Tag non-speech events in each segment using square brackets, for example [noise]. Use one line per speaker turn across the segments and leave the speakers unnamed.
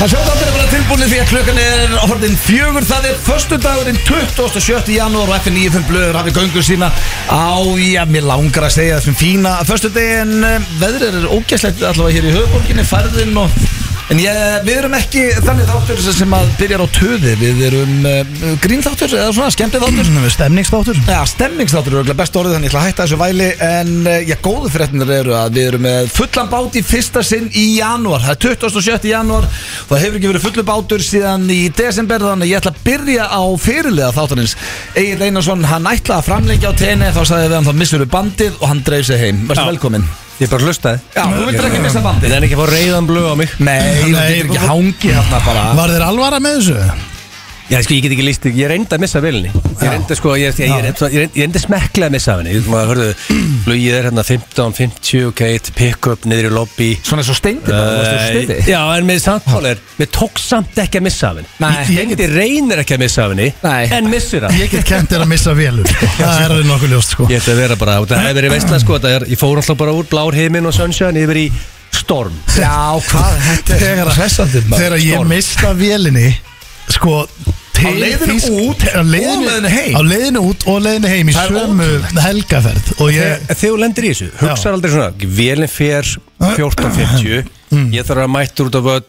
Það hljóta aldrei að vera tilbúinni því að klukkan er orðin fjögur Það er förstu dagurinn 27. janúar og FN95 blöður hafið göngu sína á, já, mér langar að segja þessum fína Förstu daginn, veðrið er ógæslegt allavega hér í höfuborginni, færðin og En ég, við erum ekki þannig þáttur sem að byrjar á töði Við erum uh, grínþáttur eða svona skemmtið þáttur
Stemningsþáttur
Já, stemmingsþáttur er örugglega besta orðið þannig ég ætla að hætta þessu væli en eh, já, góðu fréttinir eru að við erum með fullan bát í fyrsta sinn í janúar það er 27. janúar og það hefur ekki verið fullu bátur síðan í desember þannig að ég ætla að byrja á fyrirliða þáttanins Egil Einarsson, hann ætlaði að framleikja á tenni þá sagði við hann þá missur við bandið og hann dreif sig heim Verstu
Já.
velkomin
Ég bara hlustaði
Já, þú vildir ekki missa
Ég
bandið
er ekki að fá reyðan blöð á mig
Nei, þú
Nei,
getur ekki hangi hérna bara
Var þér alvara með þessu?
Já, sko, ég get ekki líst Ég reyndi að missa vilni Ég reyndi sko Ég, ég, ég, reyndi, ég, reyndi, ég reyndi smekklega að missa henni Maður hörðu [clears throat] Flugið er hérna 15, 50, ok Pick-up niður í lobby
Svona svo steindi bara, þú varst í
Eh,
steindi
Já, en með samtál er Mér tók samt ekki að missa henni
Nei.
Ég reyndi reynir ekki að missa henni
Nei.
En missur hann
Ég get kent þér að missa vélum sko. Það er alveg nokkuð ljóst sko
Ég ætti að vera bara Það hefur verið veistlega sko Það er Ég fór alltaf bara úr blár heiminn og sunshine Yfir í storm
Já, hvað, þetta er hressandi maður.
Þegar ég
Storm.
mista vélinni Sko til
Á leiðinu
Þýsk-
út
á leiðinu,
og leiðinu heim.
Á leiðinu út og leiðinu heim í
Það er
sömu helgaferð Og ég
Eh, Þegar þú lendir í þessu, hugsar aldrei svona Vélinn fer
Eh, hmm.
14.50 Ég þarf að mæta út á völl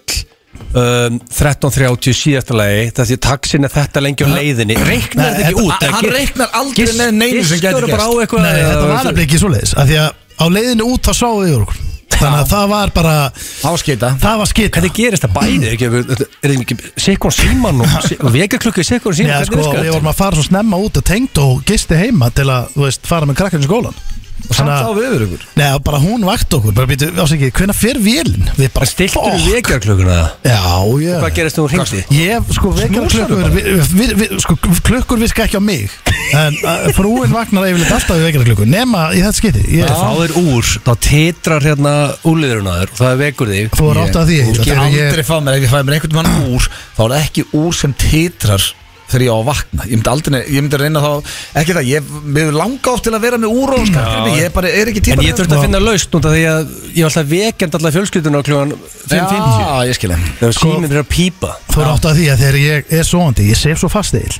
um, 13.30 síðasta lagi Þessi taksin er þetta lengi á leiðinni Reiknar
Eh, Nei,
þetta ekki
þetta-
út
hann- hann reiknar aldrei með neinu sem gæti
Gistur bara á
gerst.
eitthvað
Nei, þetta var alveg ekki svoleiðis af Því að á leiðinu út þá sáðu yfir okkur Þannig að það var bara
Áskita
Það var skita
Hvernig gerist það bæði? Er ekki- Er er ekki sekund síman og og vekjarklukku í sekund
Já,
síman?
sko, við vorum að fara svo snemma út og tengd og gisti heima til að, þú veist, fara með krakkarinn í skólan
Samt
að-
á viður ykkur
Nei, og bara hún vakti okkur, bara býtu, ásækki, hvenær fer vélinn? Við bara,
Stiltur
fuck.
við vekjarklukkuna það?
Já, já
Hvað gerist þú hringdi?
Ég, sko, vekjara
Snúsaðu
klukkur
bara.
vi, vi, vi, Sko, klukkur viska ekki á mig En uh, frúin vagnar yfirleitt alltaf við vekjara klukkur Nema í þetta skiti ég,
Þá er úr, þá titrar hérna úliðurinn að þér og það vekur þig
Þú er átt að því
Ég
Egill,
get
þegar ég-
aldrei fá mér, ef ég fæ mér einhvern mann úr Þá er það ekki úr sem titrar Þegar ég á að vakna Ég myndi aldrei, ég myndi reyna þá Ekki það, ég mér langa oft til að vera með úr og skakir mig Ég bara er ekki
En
típar hérna.
ég þurfti að finna laust út af því að ég var alltaf vekend alltaf fjölskyldun á kljóðan 5.50
Já, ég skilja
Þegar síminn er að pípa
Þú er átt að því að þegar ég er svoandi Ég sef svo fast eil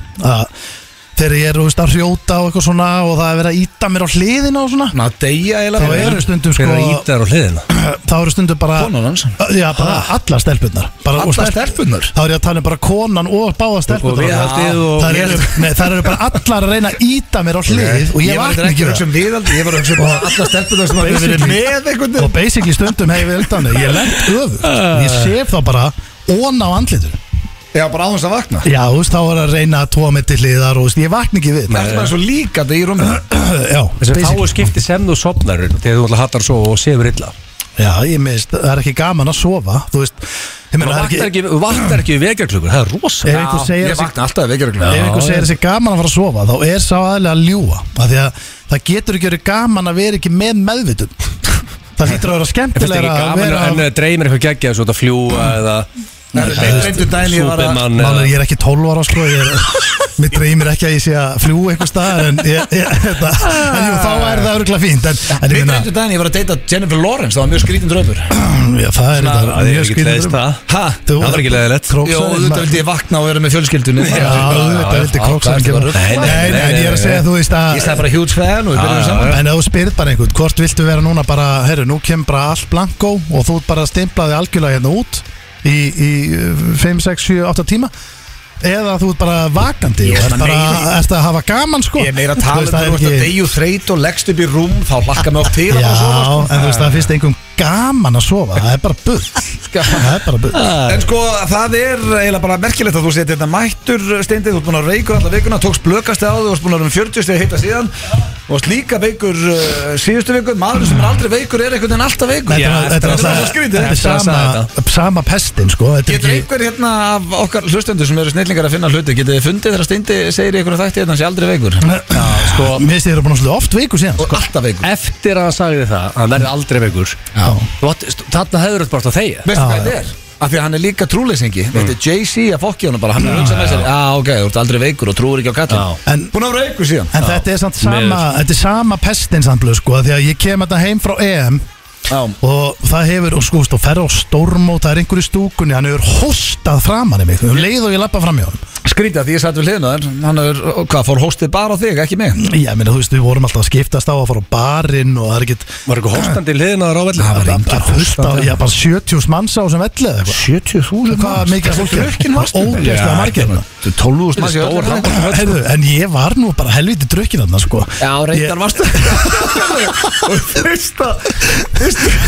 Þegar ég er, þú veist, að hrjóta og eitthvað svona Og það er verið að íta mér á hliðina og svona [clears throat]
Ná, deyja
Þá
eiginlega
eru stundum
Fyrir
sko
að íta þær á hliðina
Þá eru stundum bara
Konan hans.
Já, bara allar stelpunnar bara, og
Alla
stelp-
stelpunnar?
Þá er ég að tala um bara konan og báða
Og
stelpunnar
við haldið og
Það eru, nei, þær eru bara allar að reyna að íta mér á hlið og ég
var reyndar
vakna ekki
að
við
hugsa um viðaldi Ég var að hugsa um alla stelpunar sem hafa verið
Basically.
með einhvern
það. og basically stundum hef ég eldanu ég lent öfugt, ég sef þá bara ón á andlitur
Já, bara á þess að vakna
já, þú veist, þá er að reyna að tóa mig til hliðar og þú veist, ég vakna ekki við
Það er svo líka þetta í rúminu
já,
Þess að þá
basically
er skipti sem þú sopnar Þegar þú alltaf hattar svo og sefur illa
já, ég meðist, það er ekki gaman að sofa þú veist, ég
Þú
meina, það er
vaknar
ekki
ekki- þú vaknar ekki við vekjarklukkur, það er rosa
ef einhver
Ég
segir að
vakna alltaf að vekja
Ef einhver
Já,
segir
já.
þessi gaman að fara að sofa þá er sá aðlega að ljúa af því að það getur ekki verið gaman að vera ekki með meðvitund það hlýtur að vera
Ég finnst ekki
skemmtilega að
gaman
vera
að- en það dreymir eitthvað geggja Svo þetta fljúa eða
Reyndu dæli ég var að
Súpermann
Málega,
eða
ég er ekki 12 ára sko ég er,
[laughs]
Mér dreymir ekki að ég sé að fljú eitthvað staðar En, ég, ég, þetta, en jú, þá er það örgulega fínt En, en ég
Við
meina,
reyndu dæli ég var að deyta Jennifer Lawrence Það var mjög skrítin draumur
mm, já, það er
Það
þetta
er
mjög um.
ekki
skrýtinn
leiðist
draumur.
það
Ha?
Þú-
Það var ekki leiðilegt.
Króksæðin
Jó, auðvitað
maður-
vildi ég vakna og vera með fjölskyldunni
Já, auðvitað vildi
Nei,
króksæðin gera það.
nei,
Nei, nei, en ég er að segja, þú veist að
Ég sagði bara huge fan og við byrjum
Já,
saman
En ef þú spyrð bara einhvern, hvort viltu vera núna bara, herru, nú kemur bara allt blanko og þú ert bara stimplaði algjörlega hérna út í, í uh, 5, 6, 7, 8 tíma eða þú ert bara vakandi
Ég
og
er
ert
svona
bara,
meiri-
ert að hafa gaman sko
Ég er meira að tala um
veist, það
þegar þú
er
ert að
ekki-
deyju þreyt og leggst upp í rúm þá hlakka mig oft til að
Já,
fara að sofa, sko.
en þú veist það er fyrst einhverjum gaman að sofa Það er bara bull Það er bara bull
En sko, það er eiginlega bara merkilegt að þú setja þetta mættur steindið, þú ert búin að reyku alla veikuna, tókst blökast á þig, þú ert búin að vera um 40 stegi hitta síðan og varst líka veikur uh, síðustu veikur, maður sem er aldrei veikur er einhvern veginn alltaf veikur
Þetta er-
Já,
þetta er
þetta er
alltaf-
svo skrítið.
þetta er
Eftir að
sama, sama pestin sko Þetta er
Getur
ekki
einhver hérna af okkar hlustendur sem eru snillingar að finna hluti, getur þið fundið þegar steindi segir ykkur að þætti þetta sé aldrei veikur
Já, sko Mér finnst þið eru búin að slúta oft viku síðan sko.
og alltaf veikur
Eftir að hann sagði það, hann verði aldrei veikur
Já.
Þarna hefur þetta bara átt að þegja
Veistu
Já,
hvað þetta er? Af því að hann er líka trúleysingi
Mm.
Þetta er Jay-Z að fokki hann bara Hann er hugsað með sér Já, ok, þú ert aldrei veikur og trúir ekki á
Já.
kallin
En
Búin að vera veikur síðan
En þetta er samt sama,
miður.
þetta er sama pestin samt blöð sko Því að ég kem þetta heim hérna frá EM
Já.
og það hefur, og sko, þú ferð á stórmót það er einhver í stúkunni, hann hefur hostað framan í mig, um leið og ég lappa fram í honum
Skrýta því ég satt við hliðinu þar Hann er, hvað, fór hóstið bara á þig, ekki mig
ég meina, þú veist, við vorum alltaf að skiptast á að fara á barinn og það er ekkit
Var eitthvað hóstandi liðin að ráðvelli?
það var engin fullt á,
hóstandi
já, bara 70 manns á sem velli eða eitthvað
70.000
hvað mikið fólk er ógeðslega margir þarna.
12.000 manns í öllu
Stór
þarna.
Heyrðu, en ég var nú bara helviti drukkin þarna sko
Já, reyndar
Ég-
varstu [laughs] Og fyrsta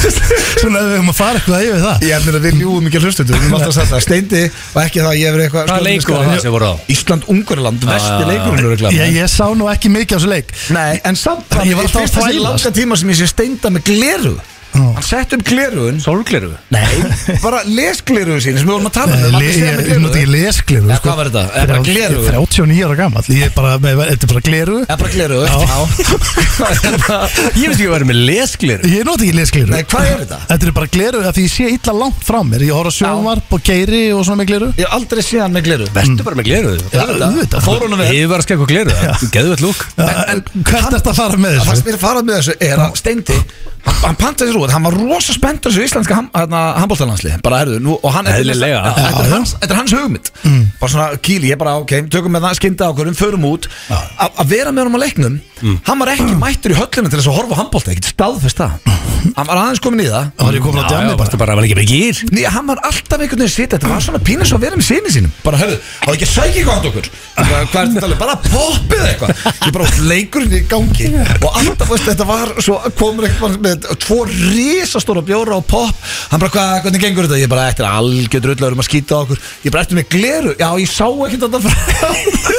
svona ef við höfum að fara eitthvað yfir það
Ég meina við ljúum ekki að hlustu Við erum alltaf að setja steindi og ekki það að ég verið eitthvað
Hvaða leikur var það sem voru á?
Ísland Ungurland, vesti leikurinn eru
ég, ég sá nú ekki mikið á þessu leik
Nei, en samt
Ég var alltaf að
fyrsta sér
þvælast.
langa tíma sem ég sé steinda með gleru Hann sett upp gleruðun
Sólgleru?
Nei Bara les gleruðun sín sem við vorum að tala um
Nei,
Allir
Eh, le-
sé
ég
með
ég
gleraugu.
mátti ekki lesgleru sko.
Ja, hvað var þetta? Er bara gleraugu?
39 ára gammal Ég er bara, með- þetta er bara gleru
Það er bara gleruðu
Já.
[laughs]
Ég veist ekki að vera með lesgleru
Ég noti ekki lesgleru
Nei, hvað er þetta?
Þetta er bara gleru af því ég sé illa langt frá mér Ég horf á sjónvarp og geiri og svona með gleru
Ég hef aldrei séð hann með gleru
Vertu bara með gleru
Mm. Já, auðvitað
Fór honum við
Ég var að skekka gleru Geðu eitt lúk
Já, Hvert er þetta að fara með
Það fannst
þessu?
mér að fara með þessu er að Steindi hann, hann pantaði sér út, hann var rosa spenntur þessu íslenska ham, hérna, handbóltalandsli bara erðu, nú, og hann
Eðlilega.
þetta
Já,
er
já.
hans, þetta er hans hugmynd mm. bara svona kýli, ég bara, ok, tökum með það skynda okkurum, förum út A- að vera með honum á leiknum, hann var ekki mættur í höllinu til þess að horfa á handbólta, ekkert staðfest það hann var aðeins komin í það
Það var ég komin á djami bara
Vartu bara að vera ekki með gýr
Nei, hann var alltaf einhvern veginn sitt Þetta var svona pínus að vera með sinni um sínum Bara, hörðu, á ekki að sækja eitthvað handa okkur bara, Hvað er þetta talið? Bara poppið eitthvað Ég bara átt leikurinn í gangi Og alltaf, veist, þetta var svo Komur eitthvað með tvo risastóra bjóra og popp Hann bara, hvað, hvernig gengur þetta? Ég bara, eftir algjör drullar um að skýta okkur Ég bara, eftir með gleru Já, ég sá ekkert þetta frá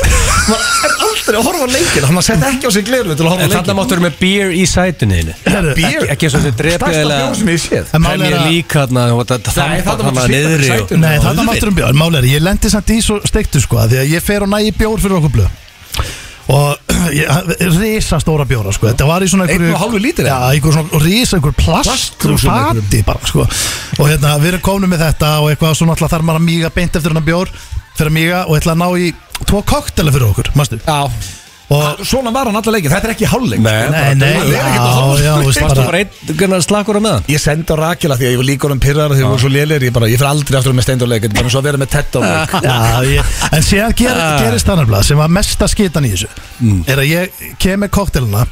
Maður er aldrei að horfa á leikin Hann sett ekki á sig gleru til að horfa á
En þarna
leikin
máttu vera með beer í sætunni þínu.
Beer?
Ekki- Ekki eins og þetta drepi
Stærsta bjór sem ég hef séð.
En málið er
Premier
að-
League hérna þú veist, það-
Nei, þarna
þarna
máttu sitja í
niðri og-
sætinu.
Nei, þarna máttur um bjór Mál er, ég lendi samt í svo steiktu sko af Því að ég fer og nægi bjór fyrir okkur blöð Og [clears throat] ég- risa stóra bjóra sko Þetta var í svona einhverju
Einn og hálfur lítur,
Já,
eða?
einhver svona risa, einhver plast
Plastrús
Plast
svona einhverjum.
fati bara sko Og hérna, við erum komin með þetta Og eitthvað svona alltaf þarf maður að míga beint eftir hennar bjór Fyrir að míga og ætla að ná í Tvo koktela fyrir okkur, mástu
Já,
Og
Svona var hann alla leikin, þetta er ekki hálfleik
Nei,
Bara-
Nei, nei,
það er ekkert að
já,
horfa á
já,
svona
þú
leik.
veist bara-
Varstu bara einn gana, slakur á meðan
Ég sendi á Rakela því að ég var líkur um pyrrar því að ég var svo lélir, ég bara, ég fyrir aldrei aftur með steinduleik þetta er bara svo að vera með tett á [laughs] leik
Já, ég, en síðan ger,
Ah.
gerist þannig blað sem var mesta skitan í þessu
Mm.
er að ég kem með koktelina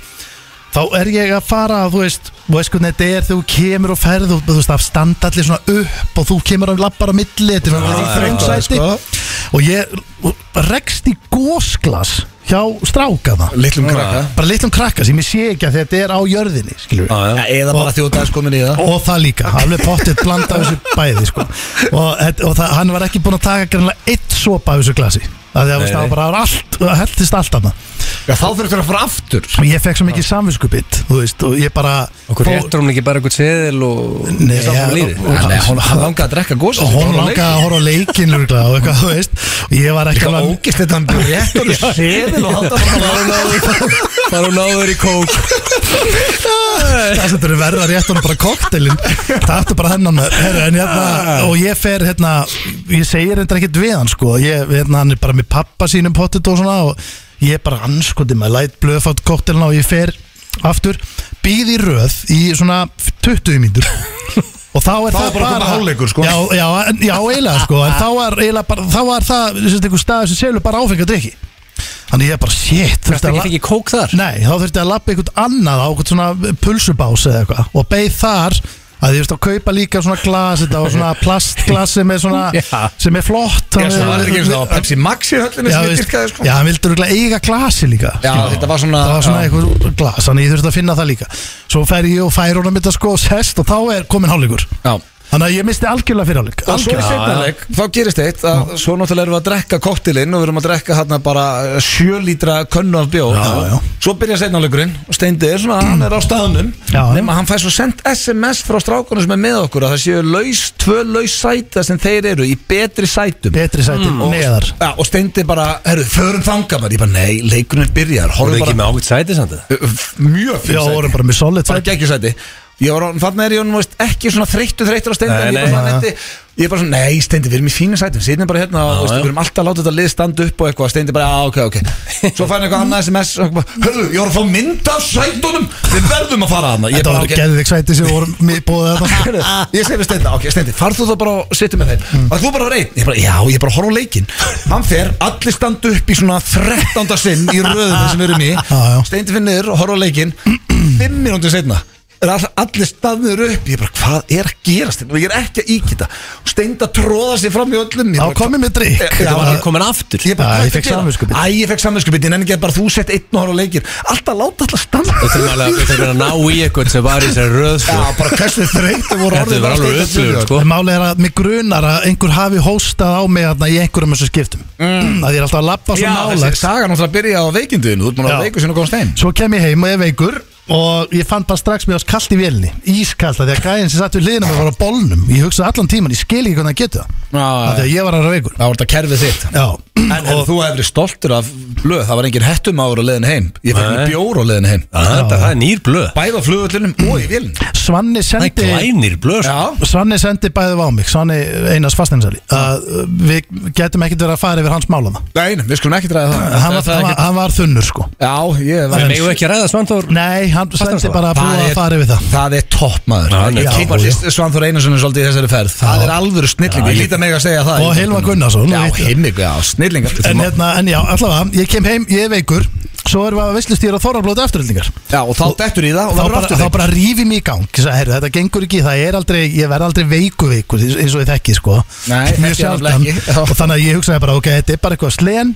þá er ég að fara þú veist, þú veist hvernig þetta er þegar þú kemur og ferð og þú veist, það standa allir svona upp og þú kemur og lappar á milli þetta er svona þröng
já,
sæti
sko.
og ég rekst í gósglas hjá strákana
Littlum krakka
bara litlum krakka sem ég sé ekki að þetta er á jörðinni skilur við
Já, Eða bara þjótaðis komin í það
og það líka, alveg pottitt blanda af þessu bæði sko. og, þetta- og það, hann var ekki búinn að taka grannlega eitt sopa af þessu glasi af því að þú veist, það var bara það var allt, það heldist allt annað
Já, þá þurftur að fara aftur
og ég fekk svo mikið samvinskupitt þú veist, og ég bara
Okkur réttur hún ekki bara eitthvað seðil og
Nei,
Samt
ja,
hún líði.
og-
Nei, Hún hann langaði að drekka gósa
og hún langaði að horfa á leikin lurgla, og eitthvað, þú veist og ég var ekki
Líka
alveg-
ógist þetta hann rétt [laughs] og séðil og halda
Bara hún náður í kók
Það sem eru verða rétt honum bara koktelin Það ættu bara hennan Heru, en, hérna,
Ah.
Og ég fer hérna Ég segir þetta ekkert við hann sko ég, hérna, Hann er bara með pappa sínum pottet og svona Og ég er bara anskotið með læt blöðfátt koktelina Og ég fer aftur Býð í röð í svona 20 mínútur Og þá er
Þá
það
er bara að koma hálfleikur, sko.
Já, já, en- já eiginlega sko En þá er, eiginlega bara, þá er það sem sagt, einhver stað sem selur bara áfengar drikki Þannig ég er bara shit þú veist,
Þetta
að
ekki
la-
fengið kók þar
Nei, þá þurfti að lappa einhvern annað á einhvern svona pulsubás eða eitthvað og beigð þar að ég veist að kaupa líka svona glas þetta og svona plastglas sem er svona
Já.
sem er flott
Já, svo var þetta ekki eins og það var
já,
Pepsi Max í höllinu sem ég
veist,
dyrkaði sko
já, hann vildur eiginlega eiga glasi líka
Já,
skilur.
þetta var svona-
Það var svona
já.
eitthvað glas, þannig ég þurfti að finna það líka Svo fer ég og fær honum þetta sko og sest og þá er komin hálfleikur
Já
Þannig að ég misti algjörlega fyrir hálfleik
Og svo í
Algjörlega.
seinna leik, þá gerist eitt að svo náttúrulega erum við að drekka koktilinn og við erum að drekka hérna bara sjölítra könnu af bjór
Já, já.
Svo byrja seinnalegurinn og Steindi er svona, hann er á staðnum
Já.
nema hann fær svo sendt SMS frá strákunum sem er með okkur að það séu laus, tvö laus sæta sem þeir eru í betri sætum
Betri sæti neðar
Já, Mm. og Steindi bara, herru, förum þanga maður Ég bara, nei, leikurinn er byrjar
Hún er
Horfum
ekki
bara
með ágætt sæti samt það
mjög
Já,
fyrir sæti
vorum bara með solid
bara
sæti
geggjusæti ég var orðinn- þarna er ég orðinn, þú veist, ekki svona þreyttu þreyttur á
Nei,
steindan ég
nei.
bara svona
Já,
nefndi Ég er bara svona, nei Steindi, við erum í fína sætum Sýnum bara hérna og veistu,
já.
við erum alltaf að láta þetta lið standa upp og eitthvað Steindi bara, já, ok, ok Svo fær hann eitthvað annað SMS og bara, Hörðu, ég voru að fá mynd af sætunum Við verðum að fara hana Ég
Þetta
bara,
var
ok,
geðvik sæti sem vorum mér bóðið þetta
Heyrðu, Ég segi við Steindi, ok, Steindi, farð þú þá bara og sittu með þeim mm. Og þú bara á reyn, ég bara, já, ég bara horf á leikinn Hann fer, allir standa upp í svona 13. sinn í röðinu sem við erum í
Ah, já.
Steindi finnir og horf á leikinn 5 minútið setna er all, allir staðnir upp ég bara, hvað er að gerast hérna? og ég er ekki að íkita og Steinda tróða sér fram í öllum [laughs] ég
Þá
bara,
komið með drikk
Já,
Þetta var-
ég
komin aftur
Ég, bara,
Æ,
hvað
ég
ertu
fekk
að gera?
samviskubit.
Æ, ég fekk samvinskubit, en ekki bara þú sett einn og horf á leikinn Alltaf láta alltaf standa
Við þurfum alveg- við þurfum að ná í eitthvað sem var í þessari röð sko.
Já, bara hversu þreytu voru
Þetta var alveg
Steindar
öllur
Junior.
sko.
En málið er að mig grunar að einhver hafi hóstað á mig þarna í einhverjum þessu skiptum mm. Að ég er alltaf að labba svo
Já, þessi
nálægt
saga náttúrulega byrja á veikinduðinu Þú ert búin að
Já.
veiku sinni og komast heim
Svo kem ég heim og ég er veikur Og ég fann bara strax mér ást kallt í vélni Ískallt að því að gæðin sem satt við hliðina mér var á bolnum Ég hugsaði allan tíman, ég skil ekki hvernig að geta það Af því
Það
að ég var að vera veikur
var þetta kerfið þitt
Já,
En og, þú hefði verið stoltur af blöð Það var engin hettum ára á leiðin heim Ég fekk
Nei.
mér bjór á leiðin heim
Já, þetta- Það er nýr blöð
Bæði á flugullinum og í vilin
Svanni
Það er
sendi
glænir blöð sko.
Já
Svanni sendi bæðið á mig Svanni Einars Fastinsali að uh, Við getum ekkert verið að fara yfir hans málaða
Nei, við skulum ekki draga það
hann,
Það-
var-
það
hann,
er
var- hann var þunnur sko
ekki- Já, ég
Við
var
megum ekki að ræða Svanþór
Nei, hann sendi
Fastansalan?
bara að
Það
búa
er-
að fara yfir það
Það er topp maður
Já, hann er
topp,
Kippa Svanþór Einarsson er svolítið í þessari ferð Það er alvöru snillingu, ég líta mig að segja það
Og Hilma Gunnarsson,
Já,
veit ég.
Hilmig, já, snillingar
En, hérna, en já, allavega, ég kem heim, ég er veikur Svo erum við að veistlustýra þorrablóta eftirhildingar
Já, og þá dettur í það og
Þá
verður
bara,
aftur
þá
þeim.
bara rífi mig í gang Ég sagði, heyrðu, Þetta gengur ekki, það er aldrei Ég verð aldrei veiku veikur eins eins og ég þekki sko.
Nei, þekki
Mjög
ég
sjaldan
nefnilega ekki, já.
Og þannig að ég hugsaði bara, ok, þetta er bara eitthvað slen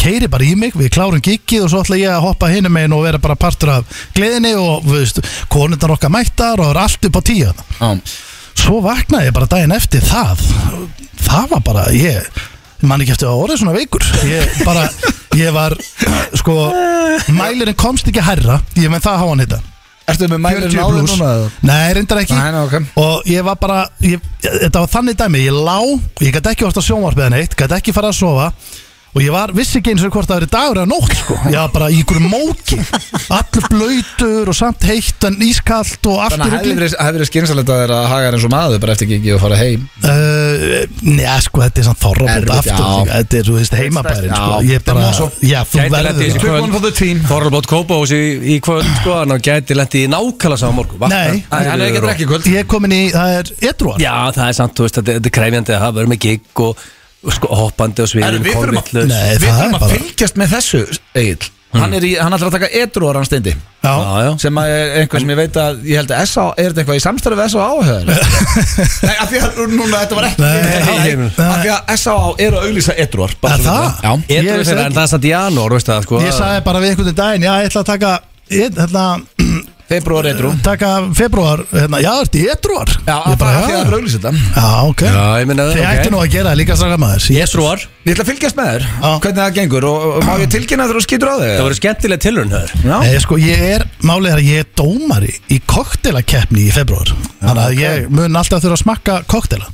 Keiri bara í mig, við klárum gikið Og svo ætla ég að hoppa hinum megin og vera bara partur af Gleðinni og, þú veist, konundar okkar mættar Og er allt upp á tíu þarna.
Já.
Svo vaknaði ég bara daginn eftir það Það var bara, ég ég man ekki eftir að orðið svona veikur Ég bara, ég var Sko, mælirinn komst ekki herra Ég menn það hafa hann hitta
Ertu með mælirinn
40
áður
plús.
núna? eða?
Nei, reyndar ekki
Nei, nei, ok.
Og ég var bara, ég, þetta var þannig dæmi Ég lá, ég gæti ekki orðið að sjónvarpið hann eitt Gæti ekki fara að sofa Og ég var, vissi ekki eins og hvort það verið dagur eða nótt sko. Ég var bara í ykkur móki Allur blöytur og samt heitt En ískalt og allt
Þannig að
rugli.
hefði verið- hefði verið skynsalegt að þeirra haga þér eins og maður bara eftir gigi og fara heim
Uh, Njá, sko, þetta er samt þorrablót
Erfitt,
aftur sko.
já.
Þetta er, þú veist, heimabærin
Já,
sko. Ég
þetta
bara,
má svo-
já,
Gæti
þú
lent í
verður
þessu
það.
Took one for the team
Þorlbót Kópás í, í kvöld sko Þannig að gæti lendi í nákvæmlega saman morgun Vaknar-
Nei.
Nei, hann er ekki að drekka í kvöld
Ég er komin í, það er edruar
Já, það er samt, þú veist, þetta þetta er krefjandi að hafa verið með gig og og sko, hoppandi og
Herru,
sviðin
við þurfum að-
kolvitlaus.
Nei,
Við
það
þurfum
er
að
bara-
fylgjast með þessu, Egil Hann er í- hann ætlar að taka edruar hans steindi
Já,
Já, já
sem að er einhver sem ég veit að ég held að SA, er þetta eitthvað í samstarfi við S.A.A. áhöður? Nei, af því að núna þetta var ekki
Nei,
Nei, af því að S.A.A. eru að auglýsa edruar bara
Er
svo
það?
við- Já,
Ég
Edru
vissi
þeirra,
ekki.
en það er samt í janúar, veist það, sko
Ég sagði bara við einhvern daginn Já, ég ætla að taka ég- hérna, [clears throat]
februar edru
Taka februar, hérna, já, þetta er edruar
Já, af
ég
því
bara,
að það er að auglýsa þetta
já, ok
Já, ég meina,
Þið ættu nú að gera það líka straka maður Ég
Edruar,
Ég ætla að fylgjast með þér,
Já.
hvernig það gengur og og má ég tilkynna þegar þú skýtur á þig?
það voru skemmtilega tilhörn höður
Já.
Nei, sko, ég er, málið er að ég er dómari í koktelakeppni í februar Þannig að ég mun alltaf þurfa að smakka
[laughs]
koktela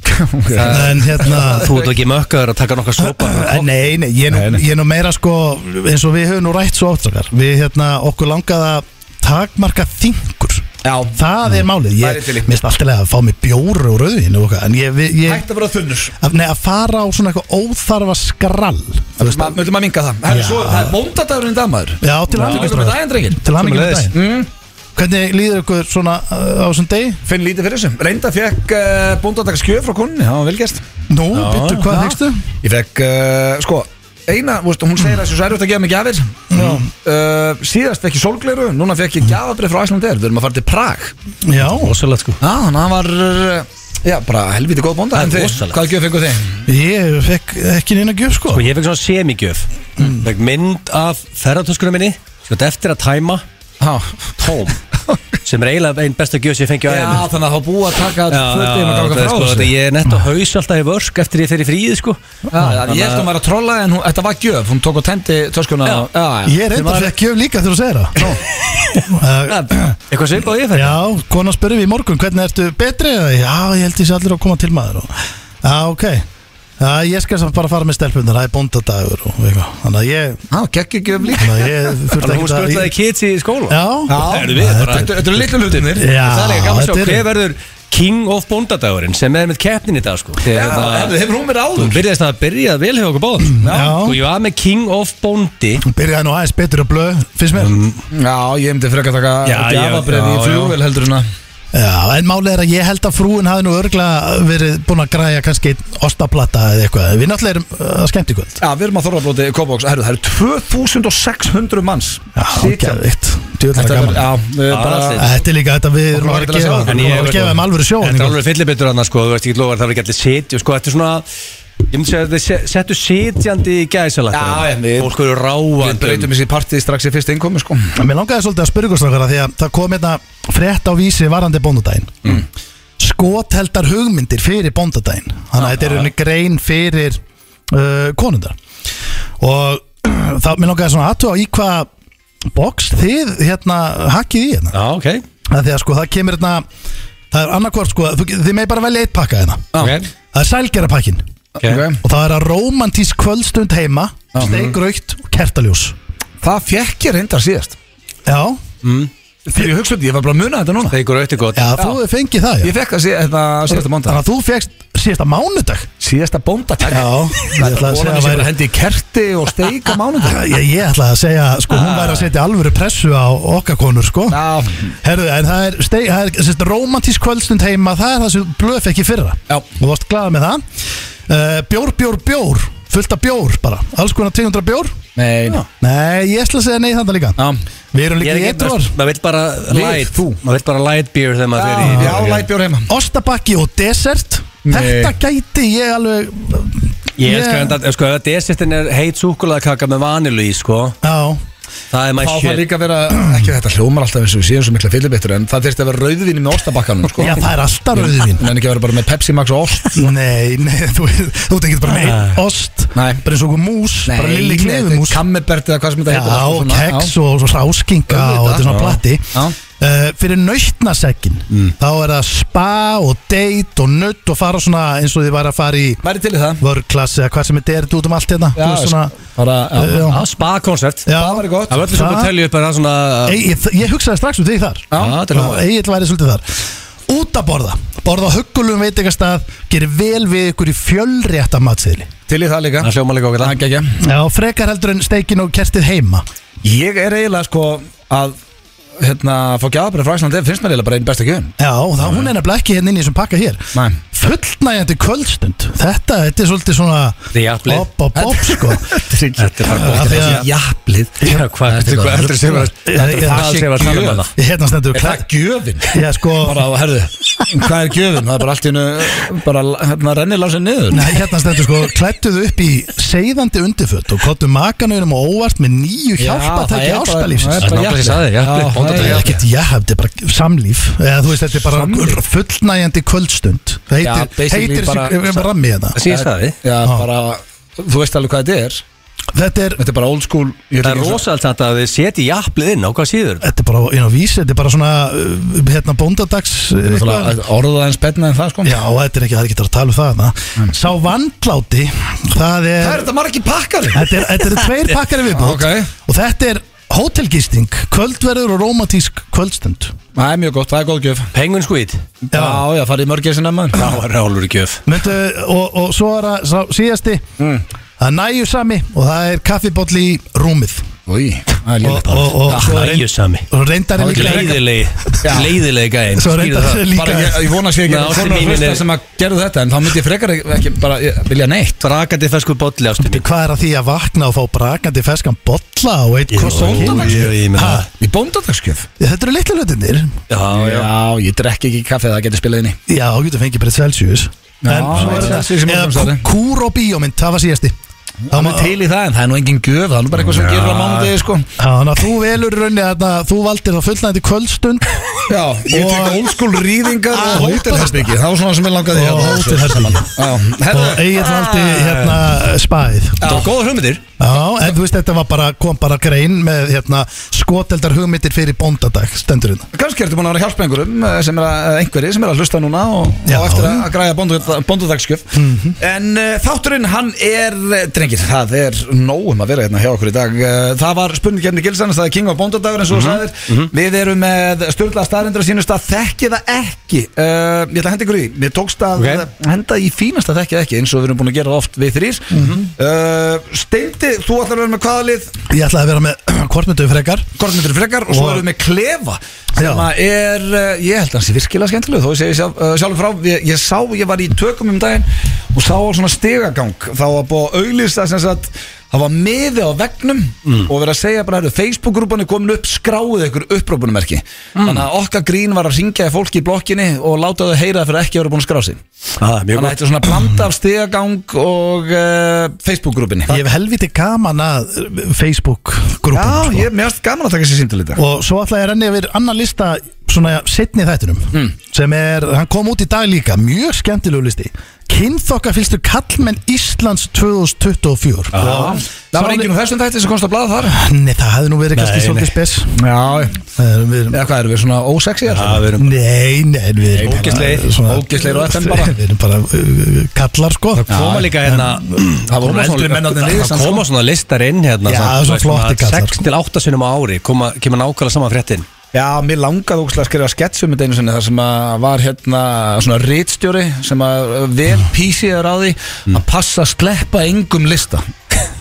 En hérna
Þú ert ekki mökkaður að taka nokkar sopa
Eh, Nei, nei, ég er nú, ég er nú meira sko eins og við höfum nú rætt svo áttakar Við hérna, okkur langaði að takmarka þingur
Já,
Það er málið,
Það er til í.
ég mist alltaf að fá mér bjóru og rauðin og eitthvað En ég, við- ég
hægt að vera þunnur
að, nei, að fara á svona eitthvað óþarfa skrall Þú veist,
Möldum maður minga það Herri,
Já.
svo, Það er bóndadagurinn í dagmaður
Já, til
Til hamingju með daginn, drengir. Mm.
Til hann ekki með
Sömuleiðis.
daginn Hvernig líður ykkur svona uh, á þessum degi?
Finn lítið fyrir þessu Reynda fekk uh, bóndadagaskjöf frá konunni, það var velgjast
Nú, byttu, hvað þykstu?
Ég fekk, uh, sko, eina, veistu, hún segir að þessu særjótt að gefa mig gjafir mm. uh, Síðast fekk ég solgleru, núna fekk ég gjafabrið frá Æslandir Við erum að fara til Prag Já,
Já,
Ósvöld, sko
þannig að það var, uh, já, bara helviti góð bónda
Það er
En þið,
rosalegt.
Hvað gjöf fengu þið?
ég fekk ekki neina gjöf sko
Og ég fekk svona semigjöf
Mm.
Fekk mynd af ferðartöskunum minni Sko, þetta eftir að tæma
Já, [laughs]
tóm Sem er eiginlega einn besta gjöf sem ég fengi á
já
æðinu
þannig að þá búið að taka fötin og ganga
þetta er
frá
sko, þetta-
þessu
Ég er nett á haus alltaf í vörsk eftir ég fer í fríði sko
Já, já, Ég held að maður að trolla en hún, þetta var gjöf, hún tók og tendi töskuna
Já.
já, já.
Ég reyndar fekk gjöf líka þegar þú segir það Nú
[clears throat] Eitthvað svipað og ég fer
Já, konan spurði við í morgun hvernig ertu betri eða já, ég held því að allir að koma til maður og, Já, ok Já, ég skal samt bara fara með stelpunar, það er bóndadagur og eitthvað, þannig að ég
Já, gekk ekki um líka
þannig að ég þurfti
Þannig að hún
ekki að
skvöldlaði
ég,
kids í skóla
Já,
Já,
Erum við bara-
þetta þetta eru litlu hlutinir
Já,
Það er líka gaman að
þetta
sjá
er-
hver verður King of Bóndadagurinn sem er með keppnin í dag sko Þegar,
Já,
hérna,
hefur hún verið
Þú
áður
byrjaðist að byrja vel hjá okkur báð
Já.
Og ég var með King of Bóndi
Hún byrjaði nú aðeins betur á blöð, finnst mér
Já, ég myndi frekar taka
Já, já,
djafabref í
já, já.
flugvél heldur en að
Já, en málið er að ég held að frúin hafi nú örgla verið búin að græja kannski einn ostaplata eða eitthvað Við náttúrulega erum uh, að skemmt í kvöld
Já, við erum að þorrablóti Kópavóks Herru, það eru 2600 manns
Já,
Sitjandi.
ágæðvikt, djúðlega
Þetta
gaman
er, já, við
Bara
bara
allir.
Þetta er líka þetta við erum
var
að
ekkert að
gefa
sjá.
Við erum að gefa um alvöru sjó
Þetta er alveg fyllibittur annars sko, þú veist ekki lofar, það var ekki allir sitju sko, þetta er svona Ég myndi segja að þeir se- settu sitjandi í
Já, já,
gæsalakar
við-
Fólk eru
Við
ráandi
breytum þessi partí strax í fyrst innkomi sko
Mér langaði svolítið að spyrja ykkur strákar að því að það kom hérna frétt á vísi varandi bóndadaginn mm. Skotheldar hugmyndir fyrir bóndadaginn Þannig að þetta er einu grein fyrir uh, konundar Og [clears throat] það, mér langaði svona aðtúa í hvað box þið hérna hakið í hérna
Já, ok,
að Því að sko það kemur hérna Það er annarkvort sko, þú- þið með bara velja eitt pakka hérna
ok,
Það er sælgera pakkin
ok
Ok.
Og það er að romantísk kvöldstund heima Steigraugt og kertaljós
Það fekk ég reyndar síðast
Já,
Þegar ég hugsaði, ég var bara að muna þetta núna
Það ykkur auðvitað gott
já, þú hefur fengið það já.
Ég fekk það sí- hérna síðasta
Þannig
mándag
að þú fegst síðasta mánudag
Síðasta bóndatak
Já, ég ætlaði að segja að væri
Hendi í kerti og steik á mánundag
[laughs] Ég, ég ætlaði að segja, sko, hún væri að setja alvöru pressu á okkar konur, sko
Já,
Herðu, en það er, steg, það er sérst, romantísk kvöldstund heima Það er það sem blöf ekki fyrra
Já.
Þú varst glaða með það uh, Bjór, bjór, bjór, fullt af bjór bara Alls konar 200 bjór
nei
Nei, ég ætla að segja nei þannig líka
Já.
Við erum líka
Ég
í
er ekki,
eitthvað
maður vill bara light
þú.
Maður vill bara light beer þegar maður fer í
Já, lætbjór heima
Ostabakki og dessert
Nei.
Þetta gæti ég alveg
Ég elskar þetta, sko, ef desertin er heit súkulaðkaka með vanilu í, sko
Já,
Það er my
Þá þarf
shit
líka að vera, ekki þetta hljómar alltaf eins og við séum svo mikla fyllibittur En það þurfti að vera rauðvinni með ostabakkanum sko
já, það er alltaf rauðvín
En ekki að vera bara með Pepsi Max og ost
Nei, nei, [laughs] þú, þú tekit bara með einn ost
Nei.
Bara eins og einhver mús, bara lilli klefumús
Kammebert eða hvað sem þetta
Já,
heitir
og
svona,
keks og svo ráskinga
Auðvitað.
og þetta er svona
Já.
plati
Já.
uh, Fyrir nautnasekkin
Mm.
Þá er það spa og date og nutt og fara svona eins og þið væri að fara í
Væri til í það
vörklass eða hvað sem þetta er þetta út um allt hérna Þú veist svona
bara, já.
já.
Já, spa-koncept
Já.
sko, Það væri gott
Það var öllu sem
Það-
hún telja upp er það svona
Ei, ég, ég hugsaði strax um þig þar
Já, þetta er hljómar
Egil væri svolítið þar Út að borða, borða á huggulum veitingastað Gerir vel við ykkur í fjölrétta matsiðli
Til í það líka
Það hljómar líka okkur
Það gekk ég
Já, frekar heldur en steikin og kertið heima
Ég er eiginlega sko að hérna, fá gjafabrið frá Íslandi finnst mér eiginlega bara einn besta gjöfum
Já, það, hún er nefnilega ekki hérna inn í þessum pakka hér
Nei.
Fullnægjandi kvöldstund Þetta, þetta er svolítið svona
Þetta er jafnlið.
Bob, bob, bob,
[laughs]
sko
Þetta er bara
Af því að-
Japlið
Já, hvað er þetta? Hvað er þetta sem var
Það er-
Það sem var að tala um hana
Hérna stendur
Er það
klær
gjöfin?
Já, sko
Bara, herðu, hvað er gjöfin? Það er bara allt í hennu, bara hérna, rennilásin niður
Nei, hérna stendur sko Klættuðu upp í seiðandi undirföt Og kottu makanauðum og óvart með nýju
Já, það
hjálpatæki
er bara-
ástalífsins
það er bara
Nákvæmlega
jafnlið.
sagði, jafnlið,
Já, það
bónda
Það
er
er
jafnlið.
ekkert jahab, þetta er bara samlíf eða, þú veist, Þetta er bara
Samlíf?
fullnægjandi kvöldstund Það
Já,
heitir,
basically
heitir
bara-
bara, rammi hérna. þetta
Það síðan staði
Já, bara, þú veist alveg hvað þetta er
Þetta er,
Þetta er bara old school ég ætla
Það er
ekki að-
rosalega þetta að þið setji jafnlið inn á hvað síður
þetta er bara inn á vísi Þetta er bara svona uh, hérna, bóndadags
Þetta er
eitthvað.
náttúrulega orðað eins betna en það sko
Já, þetta er ekki, það er ekki að tala um það na. Sá vandláti Það er,
Það er þetta margir pakkar
þetta er, þetta er
[laughs]
tveir pakkar við bótt
Ok.
Og þetta er hótelgisting Kvöldverður og rómatísk kvöldstund
Það er mjög gott, það er góð gjöf
Penguin Squid
Já, já, farið í mörgjessin að maður
Það var álur gjöf
Myndu, og, og svo er það sá- síðasti
Mm.
Það er næju sami og það er kaffiboll í rúmið
Új, það er
Og,
lélegt
og,
Ah,
og, svo er ein-
Æjusami
og reyndar er líka
Leiðilegi
Já.
Leiðilegi gæðin
Svo reyndar er
Bara ég,
líka
ég vona að sé ekki
Ná,
einhver
ástin
konar
mín
hlusta
er-
sem að gerðu þetta En þá myndi ég frekar ekki- ekki bara ég, vilja neitt
Brakandi fesku sko bolli ástu mín
Hvað er að því að vakna og fá brakandi feskan bolla og eitt
jú,
krossón
jú,
ég meina það.
Í bóndadagskjöf
Þetta eru litlu hlutinir
Já, já
Já, ég drekk ekki kaffe, það getur spilað inn í
Já, þú getur fengið bara Celsius
Já,
En svo er
eitt
þetta-
Celsius í
eða
morgunsárið.
kú- Kúr og bíómynd, það var síðasti Þá
Það
má-
er til í það, en það er nú engin gjöf Það er nú bara eitthvað sem
Já.
gerir á mánudegi sko
Já, Þannig að þú velur raunni að þú valdir það fullnæðandi
[laughs]
kvöldstund
Já,
ég tek
old school rýðingar
og
hótelherbyggi Það var svona sem ég langaði hérna.
og hótelherbyggi og
hótelherbyggi
eigin valdi
Ah.
hérna spæð
Það var góða hugmyndir
Já, en þú veist þetta var bara, kom bara grein með hérna skoteldar hugmyndir fyrir bóndadag stendur hérna
Kannski ertu búin að vera að hjálpa einhverjum eh, sem er að, eh, einhverji sem er að hlusta núna og,
Já.
og eftir að, að græja bóndudagskjöf En uh, þátturinn hann er eh, drengir drengir, það er nóg um að vera hérna hjá okkur í dag Eh, Það var spurningkefni Gilsanes, það er King of Bondadagur eins og þú sagðir Við erum með störla staðrindur að sínust að þekki það ekki uh, Ég ætla að henda ykkur í, mér tókst að
Ok.
henda í fínasta þekki það ekki eins og við erum búin að gera oft við þrýr mm Steindi, þú ætlar að vera með hvaða lið
Ég ætlaði að vera með [clears throat] kvortmyndu frekar
Kornmyndur frekar og svo
Og-
erum við með Klefa sem
Já.
að er, eh, ég held að hans er virkilega skemmtileg þó ég segi sjálf, eh, sjálfur frá, ég, ég sá ég var í tökum um daginn og sá svona stegagang, þá var búið að auglýsa sem sagt, það var miði á vegnum
Mm.
og verið að segja bara, herru, Facebook-grúpan er komin upp, skráið ykkur upprópunumerki
Mm.
þannig að okkar grín var að ringja í fólki í blokkinni og láta þau heyra það fyrir ekki að vera búin að skrá sig
ah,
þannig
mjög
að
gott
þetta er svona blanda af stegagang og uh, Facebook-grúpinni
Ég hef helviti gaman að sko. Facebook-grúpum
Já, ég, mér finnst gaman að taka sér síndu lita
Og svo ætla ég að renni yfir annan lista svona setni þættinum
Hmm.
sem er, hann kom út í dag líka, mjög skemmtilegu listi Kynþokka fylgstu kallmenn Íslands 2024
Já, það var enginn úr þessum þætti sem komst að blaða þar
Nei, það hefði nú verið kannski
Nei,
svolítið
nei.
spes
Já,
Það er- við erum-
eða hvað erum við svona ósexi
Já, við erum
Nei, nei, en við erum
Ógeðslegir,
bara svona-
ógeðslegir og FM bara.
[laughs] Við erum bara uh, kallar sko
koma líka hérna það
koma svona- það
það
koma
koma svona listar inn hérna
sko. Já,
svona,
það er svo
þú veist,
flottir
svona
kallar,
6 til 8 sinum á ári koma, kemur nákvæmlega saman fréttin
Já, mér langaði ógslag að skrifa sketch um þetta einu sinni þar sem að var hérna svona rítstjóri sem að vel
Mm.
písiður á því að passa að sleppa engum lista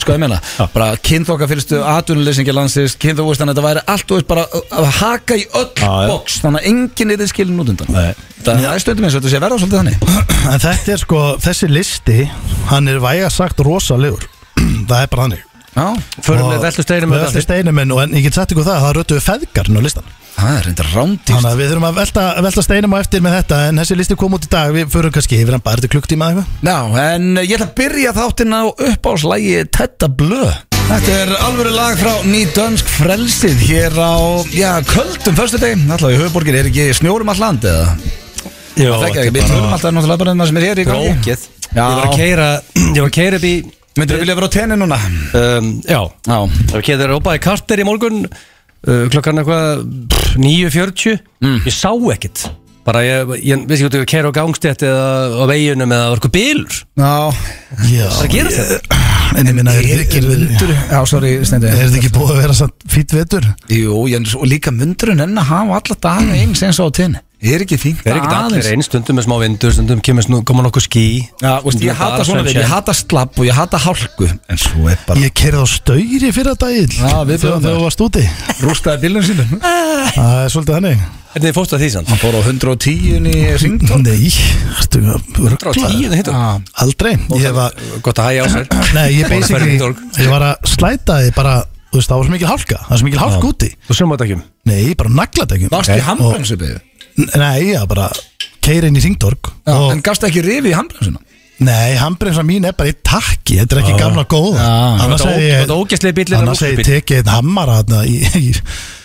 sko ég meina, bara kynþokka fyrstu atvinnuleysingi landsins, kynþokka þannig að þetta væri allt og veist bara að haka í öll
Já, já.
box, þannig að enginn er þið skilin út undan
Nei.
það er stundum eins og þetta sé að verða svolítið þannig
[clears throat]
En þetta er sko, þessi listi Hann er væga sagt rosalegur [clears throat] Það er bara þannig
Já,
förum við veltu steginum
Við veltu steinum en, og en ég get sagt ykkur það, það rötuðu feðgarinn á listan
það er reynda rándýrt
Þannig að við þurfum að velta, velta steinum á eftir með þetta En þessi listi kom út í dag, við förum kannski yfir hann bara til klukktíma eða eitthvað
Já, en ég ætla að byrja þáttinn á uppáslægi Tetta Blö Þetta er alvöru lag frá Nýdönsk frelsið hér á, já, köldum föstudegi, alltaf í höfuborgir, er ekki snjórum all land eða?
Jó,
það er ekki, við snjórum alltaf náttúrulega bara enna sem er hér í gangi
Rókið Ég var að keira Ég var að keira upp í
Myndur vilja vera á tenni núna?
um, Já
Já,
Ég var að keira rópaði karter í morgun uh, Klokkan eitthvað pff, 9.40
Mm.
Ég sá ekkit Bara ég, ég vissi ekki að ég var að keira á gangstétt Eða á veginum eða var eitthvað bílur
já,
Já,
Það er að gera þetta
en ég minna, er þetta ekki, er,
já, sorry, stendur
er ekki búið að vera satt fýtt vetur?
Jú, en svo líka myndurinn enn að hafa alla daga eins eins og á tenni Er ekki fínt
Það er ekkit allir einn stundum með smá vindur Stundum kemur snú, koma nokkuð ský
Já, veist, ég hata svona við, ég hata slapp og ég hata hálku En svo er bara
Ég kerði á stauri fyrir að dagil
Já, við
Þegar
byrjum
þú
það.
varst
[laughs]
úti
rústaði bílun sínum
Það er svolítið þannig
Hvernig fórstu að því sann?
Hann fór á 110 í ringt
Nei, ertu rugglaður?
hérna.
110 hittu
Aldrei, ég var
Ah. Gott að hægja á sér
Nei, ég
Bara
basically,
ferðin í
ég var að slæta því bara, þú veist, það var svo mikil hálka, það var svo mikil hálka úti
Þú sjóma þetta ekki
Nei, ég bara naglaði ekki
Varst í handbremsubið
Nei, ég var bara keiri inn í Singdorg og
En gafst ekki rifi í handbremsuna
nei, handbremsa mín er bara í takki, þetta er ekki gamla góða
Já.
Annars
Þetta ógeð-
hefði ég,
þetta ógeðslegi bíllinn er
annars hefði ég tekið einn hammara þarna í, í,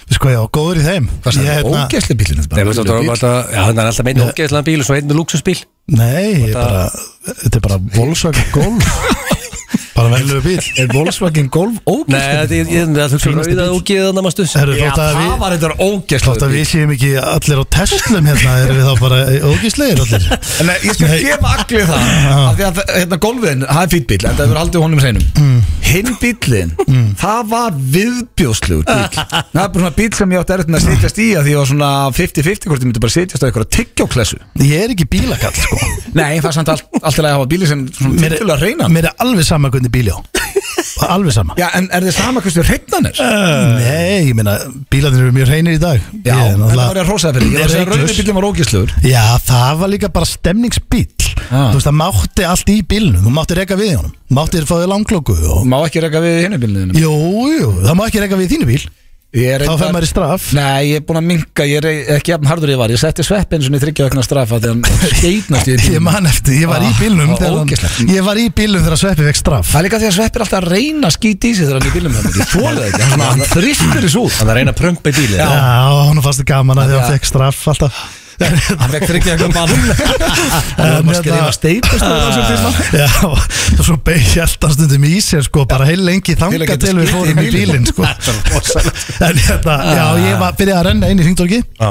við sko, ég var góður í þeim
Hvað
Ég,
sagði,
hérna,
ógæsli bílun
Nei, veistu, þetta var alltaf, já, þannig er alltaf meina ógeðislega bíl og svo einu luxusbíl
Nei, ég bara, þetta er bara Volkswagen Golf Bara velnum bíl
Er Volkswagen Golf
Nei, þetta er- ég- það hugsa um
Fínasti
rauða
bíll.
ógeðið annað maður stuð
Herru, þótt að við
var þetta
Þótt
ógæsli
að við séum ekki allir á testlum hérna erum við þá bara ógíslegir allir
En eh, ég skal
Nei.
gefa allir [laughs] það af Því að hérna, golfin, það er fýtt bíl En það verður aldrei honum hreinum Hinn bílin, það var viðbjóðslegur [laughs] bíl Það er bara svona bíl sem ég átti erfitt með að sitjast í af Því ég var svona 50-50 hvort ég myndi bara sitjast á eitthvað tyggjóklessu
Ég er ekki bílakall sko
Nei, það er samt allt, allt í lagi að hafa bíli sem svona
Mér
tiltölulega
er,
hreinan.
mér er alveg sama hvernig bíl ég á Alveg sama
Já, en er þið sama hversu hreinan er?
Nei, ég meina, bílarnir eru mjög hreinir í dag
Já,
Ég er
en það var ég að rósa það fyrir Ég var að segja að
Reyklaus.
rauði bílum var ógæslegur
Já, það var líka bara stemningsbíl
Ah.
Þú veist, það mátti allt í bílnum Þú mátti reka við honum Þú mátti fá þér langklokku og...
Má ekki reyka við hinnu bílunum
Jú, jú, það má ekki reka við í þínu bíl Þá fer maður í straff
Nei, ég er búin að minka, ég er ekki jafn hardur ég var Ég setti sveppin svona í þryggja vegna straffa
[laughs]
Þegar hann skeitnast í
Ég
bílunum
man eftir, ég var í
Ah,
bílnum
það var
þegar hann-
ógeðslegt.
Ég var í bílnum þegar Sveppi fekk straff
Það er líka því að sveppir alltaf að reyna að skýta í sig þegar hann er í bílum Ég þóla það ekki, hann, svona- hann þristur þessu út
Þannig að reyna að prömpa í bílið
Já, hann fannst það gaman að því að hann fekk straff alltaf
Hann fekk þryggja vegna bann [laughs] Það
hérna-
er maður skrifa steipast
Já, og svo beigjöld hann stundum í sér sko, bara heil lengi
Til að
þanga
geta
til við
skipt í
fórum í
bílinn.
bílinn sko. En hérna, já, ég var byrjað að renna inn í Hringdorgi
Já.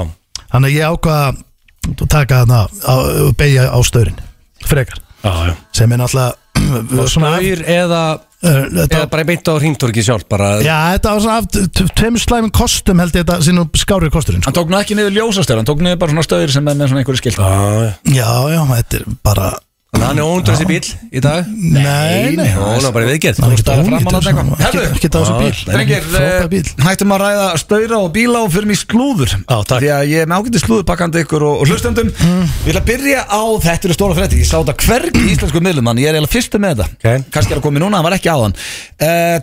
Þannig að ég ákvað að taka þarna að beigja á staurin Frekar,
Já, já
sem er náttúrulega [clears throat] svona,
Svona eða
uh, þetta,
Eða bara beint á hringtorki sjálf bara
Já, þetta var svona af t- t- tveim slæmum kostum held ég þetta sínum skárið kosturinn sko.
Hann tók nú ekki niður ljósastöður, hann tók niður bara svona stöður sem er með svona einhverju skilt
Já, já.
Já, já, þetta er bara
Þannig að hann er óndur þessi bíl í dag
Nei, nei,
Ó, hann er bara viðgerð
Það er
Þú ert
ekki
að
ónýtt
framan að
þessum-
taka.
ekki- Ekki á þessu
Já,
bíl
nei.
Drengir,
Frábær bíl.
eh, hættum að ræða staura og bíla og fyrir mig slúður
Já, takk.
Því að ég er með ágæti slúðurpakkandi ykkur og, og hlustendum
Mm.
Ég ætla að byrja á, þetta eru stóra frétti Ég sá þetta hvergi í íslensku miðlum hann Ég er eiginlega fyrstu með þetta
Ok.
Kannski er að koma í núna, hann var ekki á hann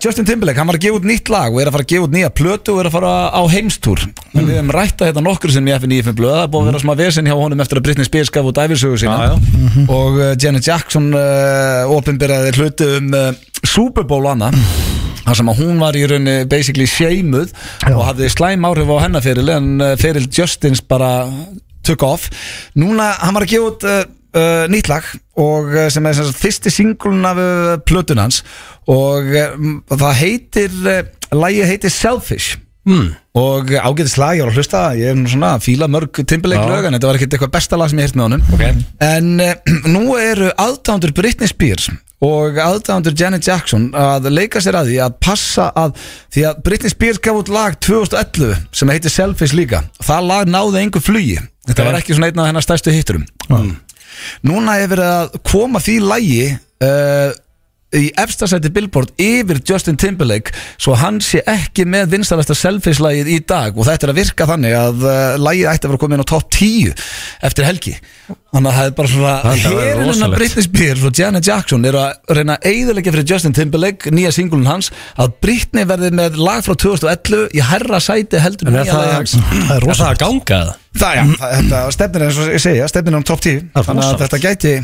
Justin Timberlake, hann var að gefa út nýtt lag og er að fara að gefa út nýja plötu og er að fara á heimstúr mm. Við höfum rætta þetta nokkur sem ég FN í FN blöð Það er búið að vera smá vesinn hjá honum eftir að Britney Spears gaf út æfisögu sína
Mm. Já, Mhm. já.
og uh, Janet Jackson uh, opinberaði hluti um uh, Super Bowl og annað
Mm.
þar sem að hún var í raunni basically sheimuð
Já.
og hafði slæm áhrif á hennar feril en uh, feril Justins bara took off núna hann var að gefa út uh, Uh, nýtt lag og uh, sem er sem sagt, fyrsti singlun af uh, plötun hans og uh, m- það heitir uh, lagið heitir Selfish mm. og ágætis lag, ég var að hlusta ég er nú svona að fíla mörg timbuleik
Já.
lög en þetta var ekkert eitthvað besta lag sem ég heirt með honum
Ok.
En uh, nú eru aðdándur Britney Spears og aðdándur Janet Jackson að leika sér að því að passa að því að Britney Spears gaf út lag 2011 sem heitir Selfish líka það lag náði engu flugi þetta
Ok.
var ekki svona einn af hennar stærstu hitturum mm. núna er verið að koma því lagi uh, í efstasæti Billboard yfir Justin Timberlake svo hann sé ekki með vinstalasta selfish lagið í dag og þetta er að virka þannig að uh, lagið ætti að vera komið inn á top 10 eftir helgi þannig að það er bara svona
Það er
herinn að
rosalegt.
Britney Spears og Janet Jackson eru að reyna að eigðalega fyrir Justin Timberlake nýja singulun hans að Britney verði með lag frá 2011 í herra sæti heldur en
En er
nýja lagið hans
það,
Það
er
er
það
rosa
að ganga það?
Það já, það- þetta stefnir eins og ég segja, stefnir um top 10
Mm. Það er
þannig að
rosalegt.
þetta gæti,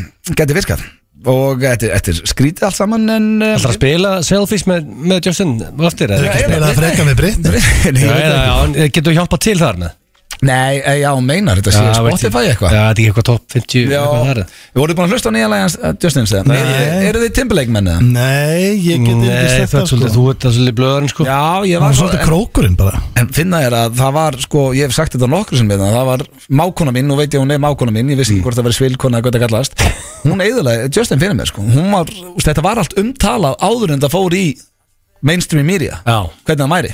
gæti virkað og þetta þetta er skrítið allt saman en uh,
Það er að spila selfies með, með Justin og eftir eða
Nei,
ekki?
Eða
Britney.
freka með Britni
Nei,
Já,
ég veit
eða,
ekki.
já, en getur þú hjálpað til þar með?
Nei, eh, já, hún meinar þetta sé
Já,
Spotify
veit ég.
eitthvað
Já, þetta er ekki eitthvað top 50
Já,
eitthvað þar eða?
við vorum búin að hlusta á nýja lægans Justins eða? Eru- Eru þið Timberlake mennið?
Nei, ég get ekki
Nei,
sett
þú ert
það
svolítið,
sko
þú ert það svolítið blöðarinn sko
Já, ég
Það
var
er svolítið
en,
krókurinn bara
en finna er að það var, sko, ég hef sagt þetta nokkru sem við það var mákona mín, nú veit ég að hún er mákona mín ég vissi
Mm.
ekki hvort það verið svilkona eða hvað það kallast hún eðalega, Justin fyrir mér, sko hún var, úst, þetta var allt umtalað áður en það fór í mainstream media
Já.
hvernig það væri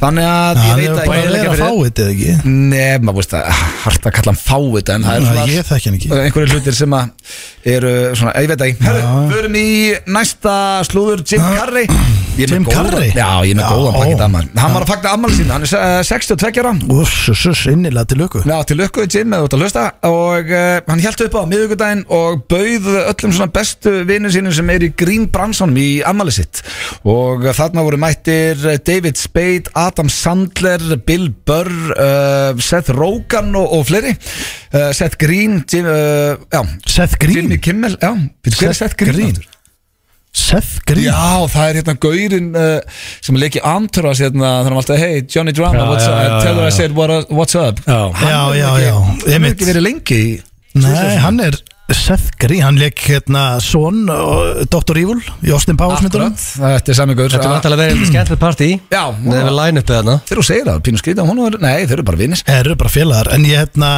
þannig að ég
Það
veit
er
að
bara
ég
að
er
vera
ekki
að fá
fyrir
þetta eða ekki
Nei, maður veist að hart að kalla hann fáið en það er
Nei, ég þekki hann ekki.
einhverju hlutir sem að eru svona, ég veit ekki Herru, förum í næsta slúður Jim Carrey Ég er með
Jim
góðan-
Carrey?
Já, ég er með
Já,
góðan
ó.
pakkið ammar Hann var að fagna ammar sín, hann er eh, 62 ára
Úss, úss, úss, innilega til löku
Já, til lukku Jim eða út að hlusta og uh, hann held upp á miðugudaginn og bauð öllum svona bestu vinnu sínum sem er í Green Bransanum í ammali sitt og þarna voru mættir David Spade, Adam Sandler Bill Burr uh, Seth Rogen og, og fleiri uh, Seth Green Jim, uh, já,
Seth
Jimmy
Green
Kimmel já, Seth, hver er Seth Green? aftur?
Seth Green
Já, það er hérna gaurinn uh, sem leik í Antras hérna, þannig að alltaf, hey, Johnny Drama
Já,
what's
já,
up,
já,
tell her
já,
I
já.
said what, what's up
Já,
Já,
Hann
já,
hefur ekki-
já,
Hann hefur
einmitt.
ekki verið lengi í
Nei, hann er Seth Green, hann leik hérna Son og Dr. Evil í Austin Powers myndunum
Akkurat, þetta er sami gaur
þetta er
Þegar
vantilega verið skemmtilegt partí
Já, hún
Nei,
var-
við line upið þarna
þú segir það, pínu skrítið hún var, Nei, þeir eru bara vinnir
Það eru bara félagar, en ég hérna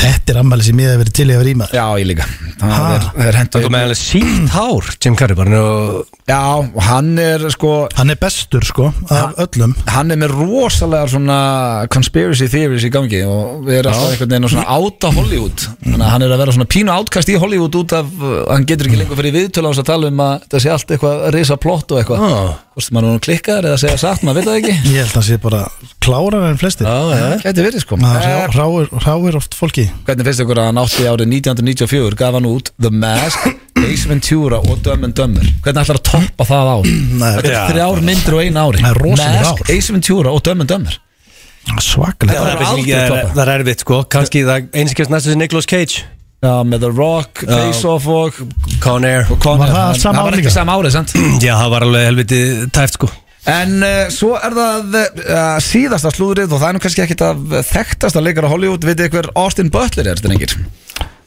Þetta er ammæli sem ég hef verið til ég hef verið í maður
Já, ég líka Það
Ha?
er, það er hendur
Það kom með alveg sítt hár, Jim Carrey bara og...
Já, og hann er sko
Hann er bestur sko, af öllum
Hann er með rosalega svona conspiracy theories í gangi og er alltaf einhvern veginn að svona áta Hollywood Þannig að hann er að vera svona pínu átkast í Hollywood út af, uh, hann getur
Mm.
ekki lengur fyrir viðtölu á þess að tala um að það sé allt eitthvað risa plott og
Mm.
eitthvað
Já.
Hvort sem maður er nú klikkaður eða segja satt, maður veit það ekki
Ég held að hann sé bara klárar en flestir
já
Gæti verið sko
Maður
Eh,
hrá- hráir, hráir oft fólki
Hvernig finnst ykkur að hann átti árið 1994 gaf hann út The Mask, Ace Ventura og Dumb and Dumber Hvernig ætlar að toppa það á?
[clears throat]
Þetta
Nei,
er þrjár myndir og einu ári
Það er rosaleg
Mask,
ár.
Ace Ventura og Dumb and Dumber
svakalega
Það er
er
aldrei
ekki- það er-
toppað.
það er erfitt sko, kannski það eins og kemst næstu sem Nicolas Cage
Já, með The Rock, Face Off og
Con Air
Conner
Var það
En
sama
Það
ár
var ekki
líka?
sama árið, sant?
Já, það var alveg helviti
[laughs]
tæft sko
[clears throat] En uh, svo er það uh, síðasta slúðrið og það er nú kannski ekkit að þekktasta leikara Hollywood Vitið ykkur Austin Butler er þetta nengir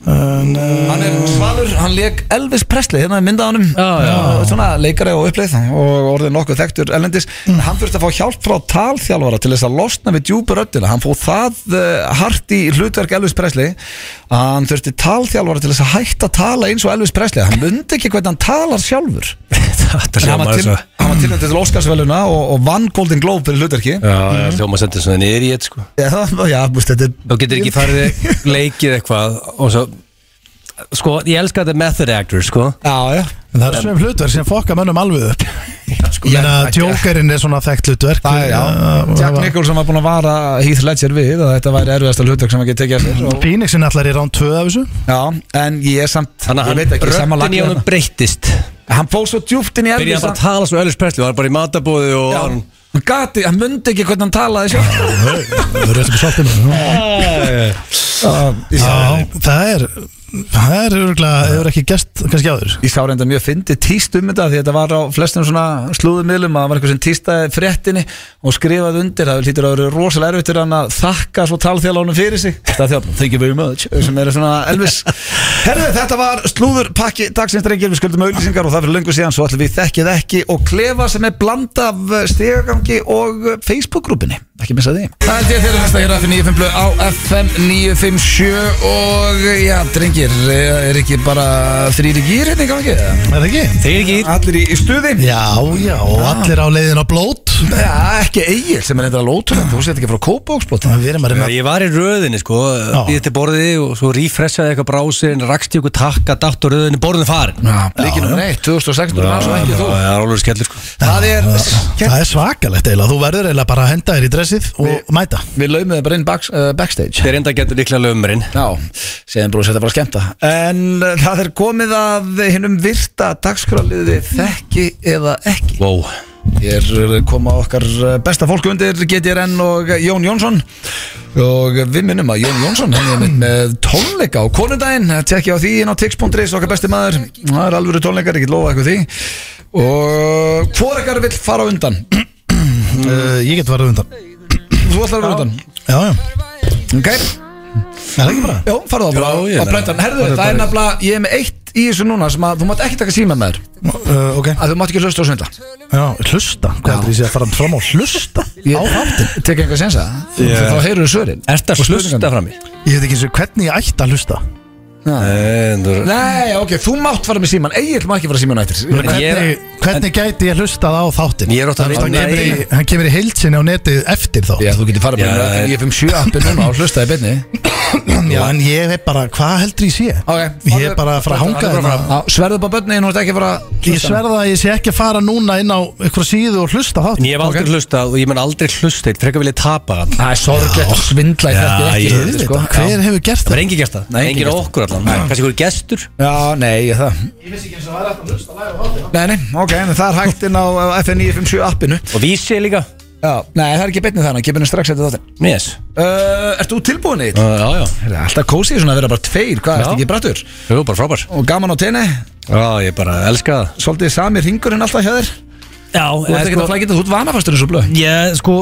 Hann er svalur, hann leik Elvis Presley hérna í myndaðanum
Já, já.
Eh, Svona leikari og uppleið og orðið nokkuð þekktur erlendis En Hann þurfti að fá hjálp frá talþjálfara til þess að losna við djúpur öddina Hann fóð það uh, hart í hlutverk Elvis Presley að Hann þurfti talþjálfara til þess að hætta að tala eins og Elvis Presley Hann mundi ekki hvernig hann talar sjálfur
Þetta
En hann
hljóma
var
þess
til-
að
hann var tilnæmt til Óskarsveluna og, og vann Golden Globe fyrir hlutverki
Já,
Mhm.
já, hljóma sendir svona niður í þetta sko
Já, það- já, múst, þetta er
Þú getur ekki farið leikið eitthvað og svo Sko, ég elska þetta method actor sko
Já, já,
En það er svona hlutverk sem fokka mönnum alveg upp Ég meina, Jokerinn er svona þekkt hlutverk
sko, það er já
Uh,
Jack
uh,
Nicholson var búin að vara Heath Ledger við að þetta væri erfiðasta hlutverk sem hann geti tekið að sér
Mm.
og,
Phoenixin allar í rán 2 af þessu
Já, en ég er samt
Þannig
ég
að
veit
hann,
ekki, sama
röttin í
lagið
honum
þarna.
breyttist
hérna. Hann fór svo djúpt inn í
Byrjaði bara
erfið
að tala svo Elvis Presley, hann var bara í matabóði og
Já,
hann
hann gati, hann myndi ekki hvernig hann talaði sjálf
Það er ekki svolítið með
Já, ég sá-
Já, það er Það er örgulega, hefur ekki gest kannski áður
Ég sá reynda mjög fyndi tíst um þetta því þetta var á flestum svona slúðumilum að það var eitthvað sem tístaði fréttinni og skrifaði undir, það hlýtur að vera rosalega erfitt fyrir hann að þakka svo talþjálunum fyrir sig það þjálfum, thank you very much sem er svona Elvis [laughs] Herðu, þetta var slúðurpakki dagsins drengir, við skuldum auðlýsingar og það fyrir löngu síðan svo ætlum við þekkið ekki og klefa sem er bland af stegagangi og Facebook-grúpinni, ekki missa því Það held ég þeirra næsta hér á FM 95 blöð á FM 957 og já, drengir, er ekki bara þrýri gýr hérna í gangi? eða?
Er það ekki?
Þeir ekki
Allir í, í stuði
Já, já, og allir á leiðin á blót
Já, ekki eigil sem er eitthvað lótur Þú sétt ekki frá kópóksblóti
Við erum að reyna
Ég var í röðinni sko, býðið til borðið og svo refreshaði eitthvað brásirinn, rakst í okkur takka, datt á röðinni, borðin farin
Líkinum neitt, 2016 manns og ekki þú
Það er alveg skellur sko
Það er
Það er svakalegt eiginlega, þú verður eiginlega bara að henda þér í dressið og mæta
Við laumuðum bara inn baks, uh, backstage
Þeir enda getur líklega lömurinn
Já, segðum brúið þetta bara skemmta En uh, það er komið að hinnum virta dagskraliði Þekki eða ekki
Wow
Hér koma okkar eh, besta fólk undir GTRN og Jón Jónsson og við minnum að Jón Jónsson hann er mitt með tónleika á konundaginn tekja á því inn á tix.is okkar besti maður það er alvöru tónleikar, ég get lofa eitthvað því og hvor ekkar vill fara á undan [clears throat]
Uh, Ég get farið undan
þú ætlar að vera á undan
Já, já,
ok,
er það ekki bara?
já, farðu á bara
Já, ég
á
meina.
brettan, herðu, það er nefnilega ég er með eitt í þessu núna sem að þú mátt ekki taka síma með þér
Uh, ok,
að þú mátt ekki hlusta á svindla
já, hlusta Hvað heldur ég sé að fara fram á hlusta? Á þáttin?
tekja einhver sensa,
Yeah.
þá heyrðu svörin
Ert að hérna?
Og spurningarnar.
slusta fram í?
Ég veit ekki eins og hvernig ég ætti að hlusta
Já.
Nei,
Nei, ok, þú mátt fara með síman Egil má ekki fara síman eftir
Ég meina,
En ég-
Hvernig, hvernig gæti ég hlustað á þáttin?
Ég er ótt að
Þannig
vita-
hann kemur í- Hann kemur í heilsinni á netið eftir þá
Já, þú getur farað
Já,
með
ég-
Ég finn sjö appi núna og hlustaði beinni
Já, en ég er bara, hvað heldur ég sé?
Ok
Ég er bara að fara að hanga hérna.
Sverðu bara bönni, nú ert ekki að fara
Ég sverða að ég sé ekki að fara núna inn á eitthvað síðu og hlusta á
En
þáttin
ég hef aldrei hlustað og ég menn aldrei hlustið Frekar vil ég tapa hann
Það er sorglegt að svindla í
Já,
þetta ekki
ég
svolítið,
veit
sko.
Auðvitað, Hver hefur gert
Það
það?
var engin gæsta,
Nei, engin
engin
gestur.
okkur allan Kanski voru gestur
Já, nei, ég það Nei, nei, ok, en það er hægt inn á FN957 appinu
Og vísi líka
Já, nei, það er ekki beinni þannig, kemur henni strax eftir þáttin
Yes
uh, Ert þú tilbúin í þetta?
Já, já,
Alltaf kósið svona að vera bara tveir, hvað,
Já.
ert ekki brattur?
jú, bara frábær
Og gaman á tenni,
Já, ég bara elska það
svolítið sami ringurinn alltaf hjá þér
Já, sko-
Þú ert ekki að flækita, þú ert vanafastur eins og blöð
Ég, sko,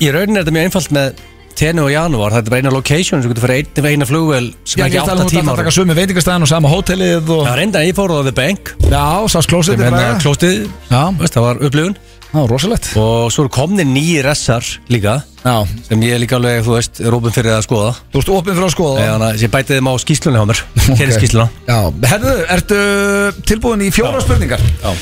í rauninni er þetta mjög einfalt með Tenu og Janúar, þetta er bara eina location sem getur fyrir einn, eina flugvel sem
Já, ég
er ekki
ætla
8
að
tíma
taka sömu veitingastæðan og sama hótelið og...
Það er enda, ég fór á The Bank
Já, sást klósið
sem
til
hérna
bræða
klóstið,
Já,
veist, það var upplifun
það var rosalegt
og svo eru komni nýjir essar líka
Já,
sem ég líka alveg, þú veist, er opinn fyrir að skoða
þú ert opinn fyrir að skoða
eða þannig að ég bæti þeim á skýslunni hjá
[laughs]
mér
Ok.
okay. skýsluna
Já, herðu, ertu tilbúin í fjóra spurningar?
Já.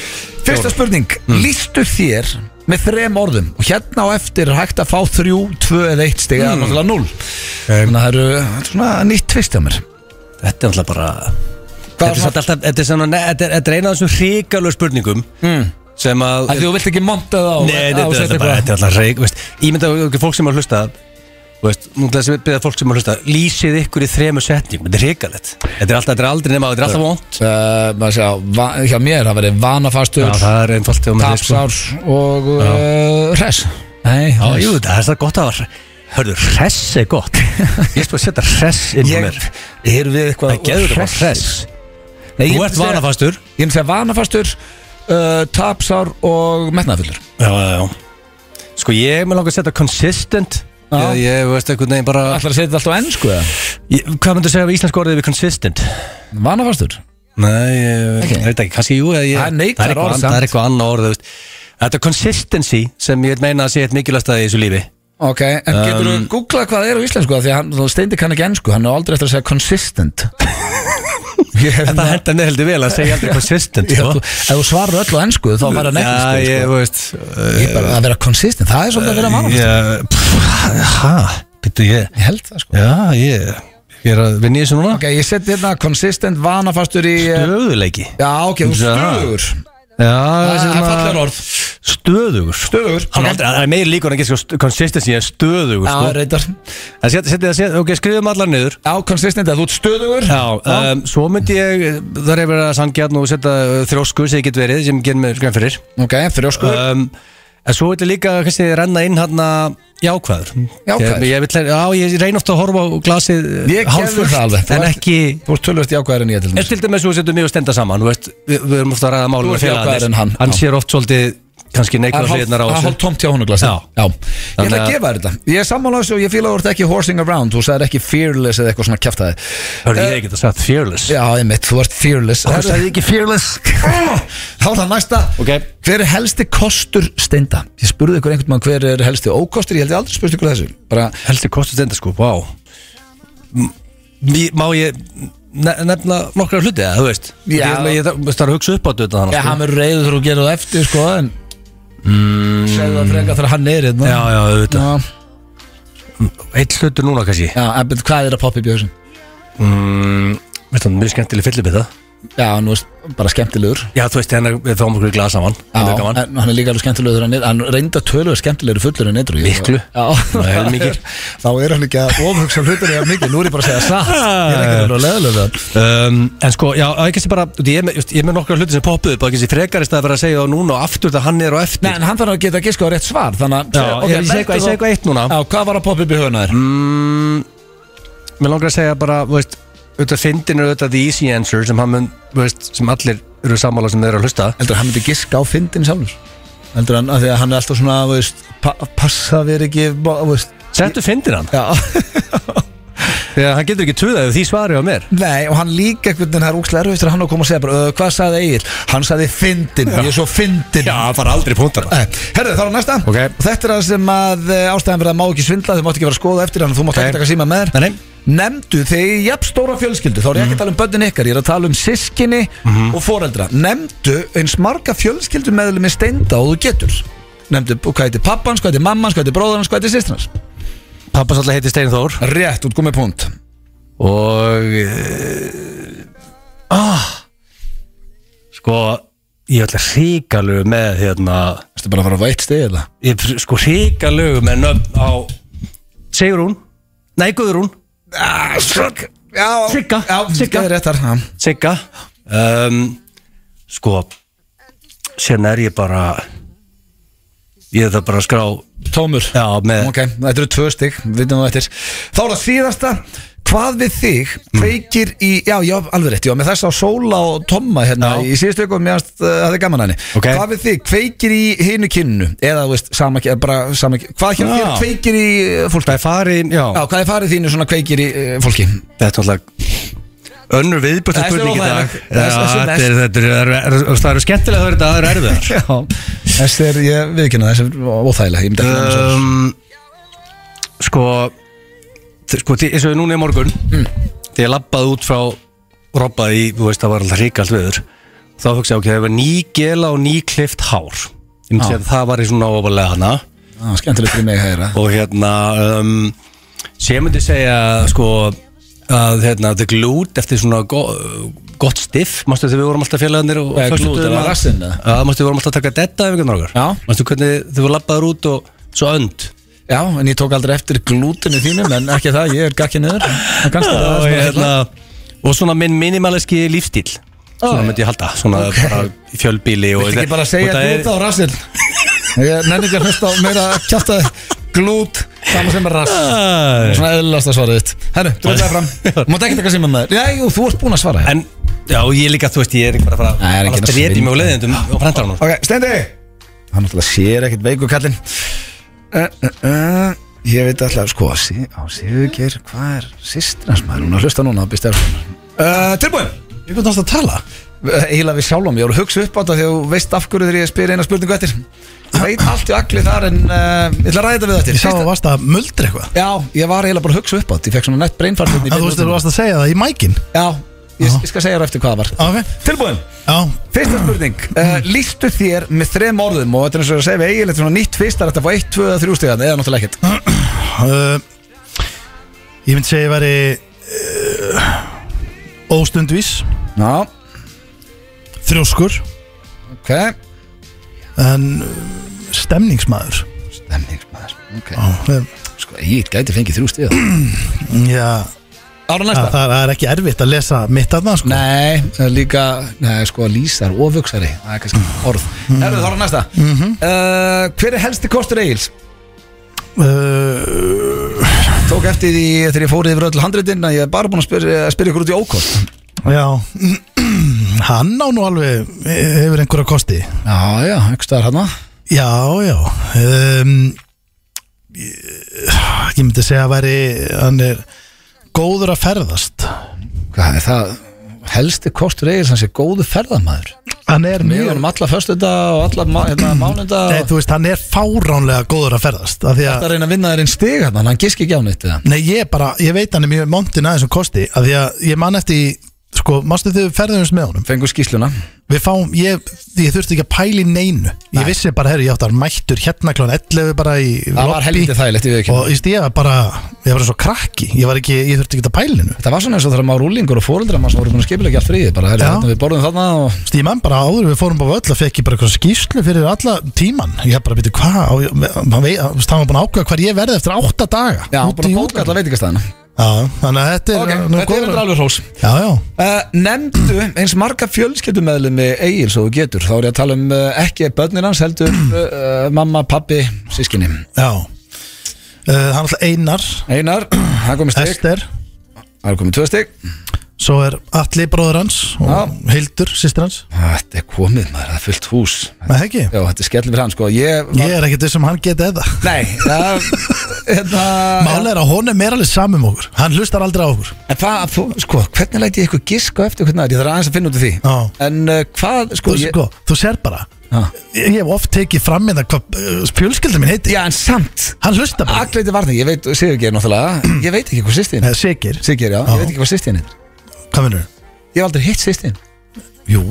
Fyrsta spurning,
Mm.
lístu þér með þrem orðum og hérna á eftir er hægt að fá þrjú, tvö eða eitt stig
Mm.
eða náttúrulega núl Þannig að það eru þetta er svona nýtt tvist hjá mér
Þetta er alltaf bara
Hvað
Þetta er,
var
samt alltaf, þetta, er svona, ne, þetta, er, þetta er eina af þessum hrikalög spurningum
Mm.
sem að
Að Þú vilt ekki monta það á
Nei,
á- á-
þetta er
setja
alltaf bara,
eitthvað.
þetta er alltaf reik veist, Ég myndi að okkur fólk sem er að hlusta þú veist, Núna sem byrða fólk sem er að hlusta Lýsið ykkur í þremur setningum, þetta er reikalett Þetta er alltaf, þetta er aldrei nema, þetta er alltaf vond
Uh, maður sjá, va- Hjá mér, það verið vanafastur
Já, það er einfalt þegar maður sko.
Tapsár og uh, Hress Nei,
Já, jú, það er það gott að var Hörðu, hress er [laughs] gott Ég spil að setja hress inn í mér
Erum við eitthvað
Það geður það bara hress
Nei,
Þú ert vanafastur
Ég myndi segja vanafastur, uh, tapsár og metnaðfullur
Já, já, já Sko, ég með langa að setja consistent
Já.
Ég, ég veist einhvern veginn bara
Ætlar að setja þetta alltaf á ennsku eða?
ég, Hvað myndu að segja við íslensk orðið við consistent?
Vanafastur?
Nei, ég
Ekki?
ég veit ekki, kannski jú eða ég,
Það er neikvæðara
það er eitthvað
orð
an-
samt.
Það er eitthvað annað orð þú veist. Þetta er consistency sem ég vil meina að sé eitt mikilvægsta í þessu lífi
Ok, en um, getur
[laughs]
þú googlað hvað það er á íslensku Af Því að hann, þú steindi kann ekki ennsku, hann er aldrei eftir að segja consistent
En það henda mér heldur vel að
[laughs]
segja aldrei consistent
Ef
sko.
þú- ef þú svarar öllu á ennsku þá verður það
Já,
nefnist
ég,
sko.
þú veist
Ég bara að vera consistent, það er svolítið að vera mál Ég
ég- Hæ, býttu Uh, ég
held það sko
Já, ég Ég er að vinna í þessu núna
Ok, ég seti hérna consistent vanafastur í eh,
Stöðuleiki
Já, ok, þú stöður
Já,
Það er
svona-
fallegar orð
Stöðugur sko.
Stöður
Hann er aldrei- Það er meir líkur en ekki sko Consistency er stöðugur
Já,
sko.
reyndar
En setja setja það sér Ok, skrifum allar niður
Já, consistent, að þú ert stöðugur
Já, um, svo myndi ég Það er að vera sangjarn og setja uh, þrósku sem ég get verið, sem gerum við skræm fyrir
Ok, þrjóskur
um, En svo vil ég líka kannski renna inn hann að jákvæður
Mm, Jákvæður?
Ég, ég, vil, já, ég reyna ofta að horfa á glasið eh,
Ég gerði
hálffullt,
það alveg. Þú
En
ert-
ekki
Þú ert tölvöld jákvæðar en ég til
En
dæmis
til dæmis svo setjum við og stenda saman þú veist, við, við erum ofta að ræða málum
Þú ert jákvæðari en hann,
Hann
já.
sér oft svolítið kannski
Það
neikvæða hliðnar á
er
þessu
hálf tomt hjá honum glasi
Já.
Ég ætla að
Þannig að-
gefa þér þetta Ég er sammála þessu og ég fíla að þú ert ekki horsing around Þú sagðir ekki fearless eða eitthvað svona kjaftaði
Hörðu ég ekki það sagt fearless
Já, einmitt, þú ert fearless
Þú sagði ekki fearless
[laughs] Þá er það næsta
Ok.
Hver er helsti kostur steinda? Ég spurði ykkur einhvern mann hver er helsti ókostur Ég held ég aldrei spurði ykkur þessu Bara,
Helsti kostur stenda sko, vá M- ég- Má ég ne nefna nokkra hluti eða, þú veist
Já.
Ég ætla- Ég þarf þarf að hugsa upp á þetta þannig
Já,
sko.
hann er reyður þegar þú gerir það eftir sko en mm. segðu það frekar þegar hann er hérna
Já, já,
já,
auðvitað Eitt hlutur núna kannski
já en betur hvað er að poppa í bjöðsum? Mm,
Veist það, mjög skemmtileg fyllibita
Já, nú veist, bara skemmtilegur
Já, þú veist, hérna við fáum okkur í glas saman
Já,
Þetta er gaman.
en hann er líka alveg skemmtilegur þegar hann er Hann reynda tölugur skemmtilegur fullur en eitthvað
Miklu. Það er
[laughs]
mikið.
Þá er hann ekki að ofhugsa hlutur eða mikið Nú er ég bara að segja satt Ég er ekki að vera leðilega
um, En sko, já, það er kannski bara þú veist, Ég er með- just, ég er með nokkra hluti sem poppuðu upp Það er kannski frekarist að vera að segja það núna og aftur Það hann er á eftir
Nei, en hann þarf að geta að giska á rétt svar Þannig
Já,
að
ég- ég segi
sko-
eitthvað- ég segi eitthvað eitt núna
Já, hvað var að poppa upp í höfuna þér?
Mér Mm, langar að segja bara, þú veist Auðvitað fyndin er auðvitað the easy answer sem, hann mun, þú veist, sem allir eru sammála sem þeir eru að hlusta
Heldur að hann myndi giska á fyndin sjálfur? Heldur hann, af því að hann er alltaf svona, þú veist, pa passa við ekki, bá- þú veist,
Settu fyndin hann
já.
Þegar hann getur ekki tuðað ef því svarið á mér
[laughs] Nei, og hann líka einhvern veginn, það er úkslega erfitt þegar hann á að koma og segja bara, "Ö, hvað sagði Egil? Hann sagði fyndin, ég er svo fyndin.
það fara aldrei púntar
Nei, Eh, Herðu, þá er næsta
Ok.
Og Þetta er það sem að eh, ástæðan verða má ekki svindla Þau mátt ekki vera að skoða eftir hann Þú mátt
Ok.
ekki taka síma með þér
Nei, Mhm. nei.
Nemndu þig í jafn stóra fjölskyldu Þá er ég ekki að tala um börnin ykkar Ég er að tala um sískinni
Mhm.
og foreldra Nemndu eins marga fjölskyldu meðlum í steinda og þú getur Nemndu b- hvað heitir pappans, hvað heitir mammans, hvað heitir bróðarans, hvað heitir sýstrans
Pappas alltaf heiti Stein Þór
Rétt, út komið punkt
Og uh, ah, Sko Ég ætla hrikalögu með hérna,
Þetta er bara að fara á veitt stegi eða
Ég er sko hrikalögu með nöfn á Sigrún Nei, Guðrún Ah,
Já,
Sigga,
já,
Sigga.
það er rétt þar, já.
Sigga um, Sko Sérna er ég bara Ég þarf bara að skrá
Tómur
Já, með
Ok, þetta eru tvö stygg, við vitum það eftir Þá er það síðasta, hvað við þig kveikir í, já, já, alveg rétt já, með þess að sóla og tomma hérna
Já.
í síðustu ykkur, mér finnst uh, það er gaman að henni
Ok.
Hvað við þig kveikir í hinu kynnu eða, þú veist, sama, eða bara sama Hvað hérna
Já.
þér kveikir í uh, fólki?
Það er farin, já,
Já, hvað er farið þínu svona kveikir í uh, fólki?
Þetta er alltaf önnur viðbjörn
Þessi er
spurning í dag
óþægileg.
Já,
Þessi- þessi er
þetta er- þetta er- það eru- það eru skemmtilega það eru þetta, það eru erfiðar
Já, þessi er, ég viðkynna þessi er óþægilega, ég myndi ekki nefna þessu.
um, Sko þ- Sko, því- eins og núna í morgun
Mm.
Þegar ég labbaði út frá Robba í, þú veist, það var alltaf ríkald viður Þá hugsaði ég, ok, það var nýgela og nýklift hár Ég
Ah.
myndi segja að það var í svona ofalega hana
Á, Ah, Skemmtilegt fyrir mig að heyra
og hérna um, sem myndi segja sko að hérna, The Glute eftir svona go, gott stiff, mástu þegar við vorum alltaf félagarnir og
Eh, Glute,
föstudögum
það var
að-
rassinn, eða?
Já, mástu við vorum alltaf að taka detta ef ykkur
Já.
nákar mástu hvernig þau voru labbaður út og svo önd
Já, en ég tók aldrei eftir glútinu þínum En ekki það, ég er gakki niður En kannski það er
og,
svona
hérna, og svona minn minimaliski lífstíl svona
já.
myndi ég halda svona
Ok.
bara í fjölbíli og,
Viltu ekki bara
og
segja
það er-
glút á rassil Ég nenni ekki að hlusta á meira kjáta glút Saman sem er rass
Æ.
Svona eðlasta svarið þitt Herru, dröðlega fram Þú Mátt ekki taka síma með þér Já, jú, þú ert búin að svara hérna.
en já, og ég líka, þú veist, ég er ekki bara að fara
Nei, það er ekki
að
að
streti
svindla.
mig og leðindum og frendar hann
Ok, Steindi Hann náttúrulega sér ekkert veiku kallinn uh, uh, uh, Ég veit alltaf, sko sí, Á Sigurgeir, hvað er sýstrans maður? Hún er að hlusta núna, býst þér uh, Tilbúin
Ég gott alltaf að tala
Eila við sjálfum, ég voru að hugsa upp á þetta þegar þú veist af hverju þegar ég spyr eina spurningu eftir Ég veit allt í allir þar en uh, ég ætla að ræða þetta við
Ég sá að
þetta
varst að muldra eitthvað
Já, ég var eiginlega bara að hugsa upp á þetta, ég fekk svona nett breinfartið
Að Þú veist að þú varst að segja það í mækin
Já, Ég, ég skal segja þér eftir hvað það var
Ok.
Tilbúin
Já,
Fyrsta spurning uh, Lýstu þér með þrem orðum Og þetta er eins og ég er að segja við eiginlega Svona nýtt fyrst Það er þetta að fá 1, 2 eða 3 stíðan Eða náttúrulega ekkert
uh, Ég myndi segja að ég væri uh, Óstundvís
Já
Þrjóskur
Ok
En uh, stemningsmaður
Stemningsmaður Ok
uh,
Sko ég gæti fengið 3 stíðan
Já,
Ára
það,
næsta
það er ekki erfitt að lesa mitt aðna sko.
Nei, það er líka, nei, sko, lýsar, ofugsari, það er kannski orð. Mm. Herðu, þá er næsta. uh, hver er helsti kostur Egils?
uh,
Tók eftir því þegar ég fór yfir öll handritin að ég er bara búin að spyrja, að spyrja ykkur út í ókost
Já [clears throat] Hann á nú alveg eh, Hefur einhverja kosti
Já, já, einhvers staðar hann
Já, já um, Ég ég myndi segja að væri Hann er góður að ferðast
Hvað er það? Helsti kostur Egils hans er góðu ferðamæður
Hann er
Mjög um alla föstuda og alla ma- hérna, mánunda
Nei,
og
þú veist, hann er fáránlega góður að ferðast af því
Það
að,
er að reyna að vinna þér einn stig hann, hann giski ekki á nýtt við hann
nei, ég bara, ég veit hann er mjög montin aðeins um kosti, af því að ég man eftir í- sko, mástu þau ferðumist með honum
Fengur skýsluna
við fáum, ég, ég þurfti ekki að pæli neinu, ég vissi bara, herru, ég átti að vera mættur hérna klón 11 bara í
Það var helviti þægilegt, ég veit ekki
og ég stíða bara ég var eins og krakki, ég var ekki, ég þurfti ekki að pæli neinu,
Þetta var svona eins og þegar maður rúlingur og fóreldra maður sem voru búin að skipilegja allt fríði bara, herri,
Já.
hérna, við borðum þarna og
stíði mann bara áður við fórum bara öll að fekk ég bara eitthvað skýrslu fyrir alla tíman, ég bara, veitu, hvað á ég- hann vei- hann var búin að ákveða hvað ég verði eftir átta daga
Já,
úti
bara
í
bóka
útlöndum.
alla veitingastæðina
Já, þannig að þetta er uh,
Ok,
nú
þetta er
góður-
þetta alveg hrós
Já, já,
Uh, nefndu eins marga fjölskyldumæðli með Egil svo þú getur þá er ég að tala um uh, ekki börnir hans heldur uh, uh, mamma, pappi, sískinni
já uh, Hann alltaf Einar,
Einar, það komið stygg
Ester
það er komið tvö stygg
Svo er Atli bróður hans og
Já.
Hildur, sýstir hans
Þetta er komið maður, það er fullt hús
Nei, ekki
Já, þetta er skellum fyrir hann sko Ég var,
Ég er ekkert þessum hann geti eða
nei það, hérna,
Mála er að honum er alveg samum okkur Hann hlustar aldrei á okkur
En hvað, þú, sko, hvernig læti ég ykkur giska á eftir hvernig það er, ég þarf aðeins að finna út af því
Já.
En uh, hvað,
Þú,
sko, ég,
sko, þú sér bara
Já.
Ég ég hef oft tekið fram með það hvað uh, fjölskyldum minn heiti
já, en samt
Hann hlustar bara
Agleiti varning, ég veit, Sigurgeir náttúrulega Ég veit ekki hvað sýstin
Nei, Sigir,
Sigurgeir, já,
Já.
ég veit ekki hvað sýstin er
hvað minnur?
Ég hef aldrei hitt sýstin
Jú,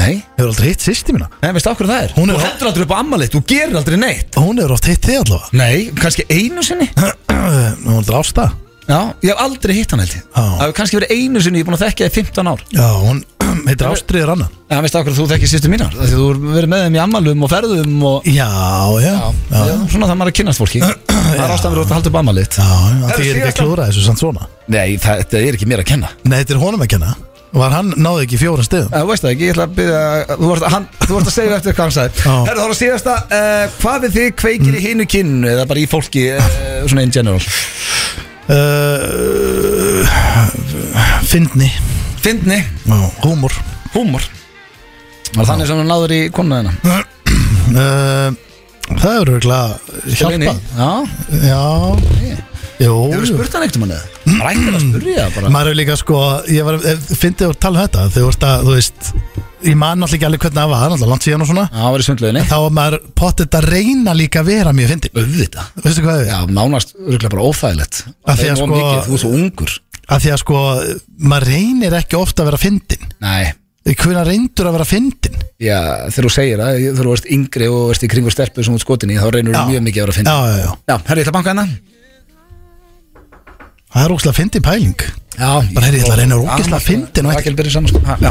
Nei,
hefur aldrei hitt sýsti mína
nei, veistu okkur það er
Hún er-
Þú heldur aldrei upp á ammalið, þú gerir aldrei neitt
Hún hefur oft hitt þig allavega [clears throat]
Nei, kannski einu sinni
Hún er aldrei ásta
Já, ég hef aldrei hitt hann held ég
Já.
Það hefur kannski verið einu sinni, ég er búin að þekkja þið 15 ár
Já, hún [clears throat] heitir Ástriður annan
Það veist okkur að þú þekkir sýstu mínar af Því þú hefur verið með þeim í ammalum og ferðum og
Já, já, já.
Já, Svona það maður er að kynast [clears throat] fólki Það er ástæðan við að halda upp ammalið
Já, já,
Herra,
því er ekki að
síðasta-
klúra þessu samt svona
Nei, það, þetta er ekki mér að kenna
Nei, þetta er honum að kenna Var hann náði ekki fjóra stegum
Þú Eh, veist það ekki, ég ætla að byrja Þú ert, hann, þú ert að segja eftir hvað hann sagði
Já.
Herra, þá er að síðasta uh, Hvað við þið kveikir í hinu kynnu Eða bara í fólki, uh, svona in general
uh, Fyndni
Fyndni,
Húmor
húmor Var þannig sem hann náður í konuna þeirna
uh, Það er örgulega hjálpa
Já,
Já Jú,
hefur
jú.
spurt hann eitt um hann eða?
Ah.
Rækir að spurja bara
maður er líka sko Ég var, fyndið að tala um þetta Þegar þú ert að, þú veist Ég man alltaf ekki alveg hvernig það var Alltaf langt síðan og svona
Já, það var í sundlöginni
Þá var maður pottet að reyna líka að vera mjög fyndið
Auðvitað
Veistu hvað við?
Já, nánast, örgulega bara óþægilegt
Af því að
Þeim of
sko-
mikið, Þú ert svo ungur
Af því að sko Maður reynir ekki ofta að vera fyndin
Nei,
Hvernig reyndur að vera fyndin
já, þegar þú segir það Þegar þú ert yngri og ert í kringu stelpu sem þú ert skotin í Þá reynur þú
Já.
mjög mikið að vera að finna
Já, já, já
Já, herri, ég ætla að banka hérna. hennar
Það er ógæslega fyndin pæling
Já,
Bara, heyrðu, ég ætla að reyna að vera ógeðslega fyndin og
og
eitthvað.
ekki byrja saman sko. Ha, já.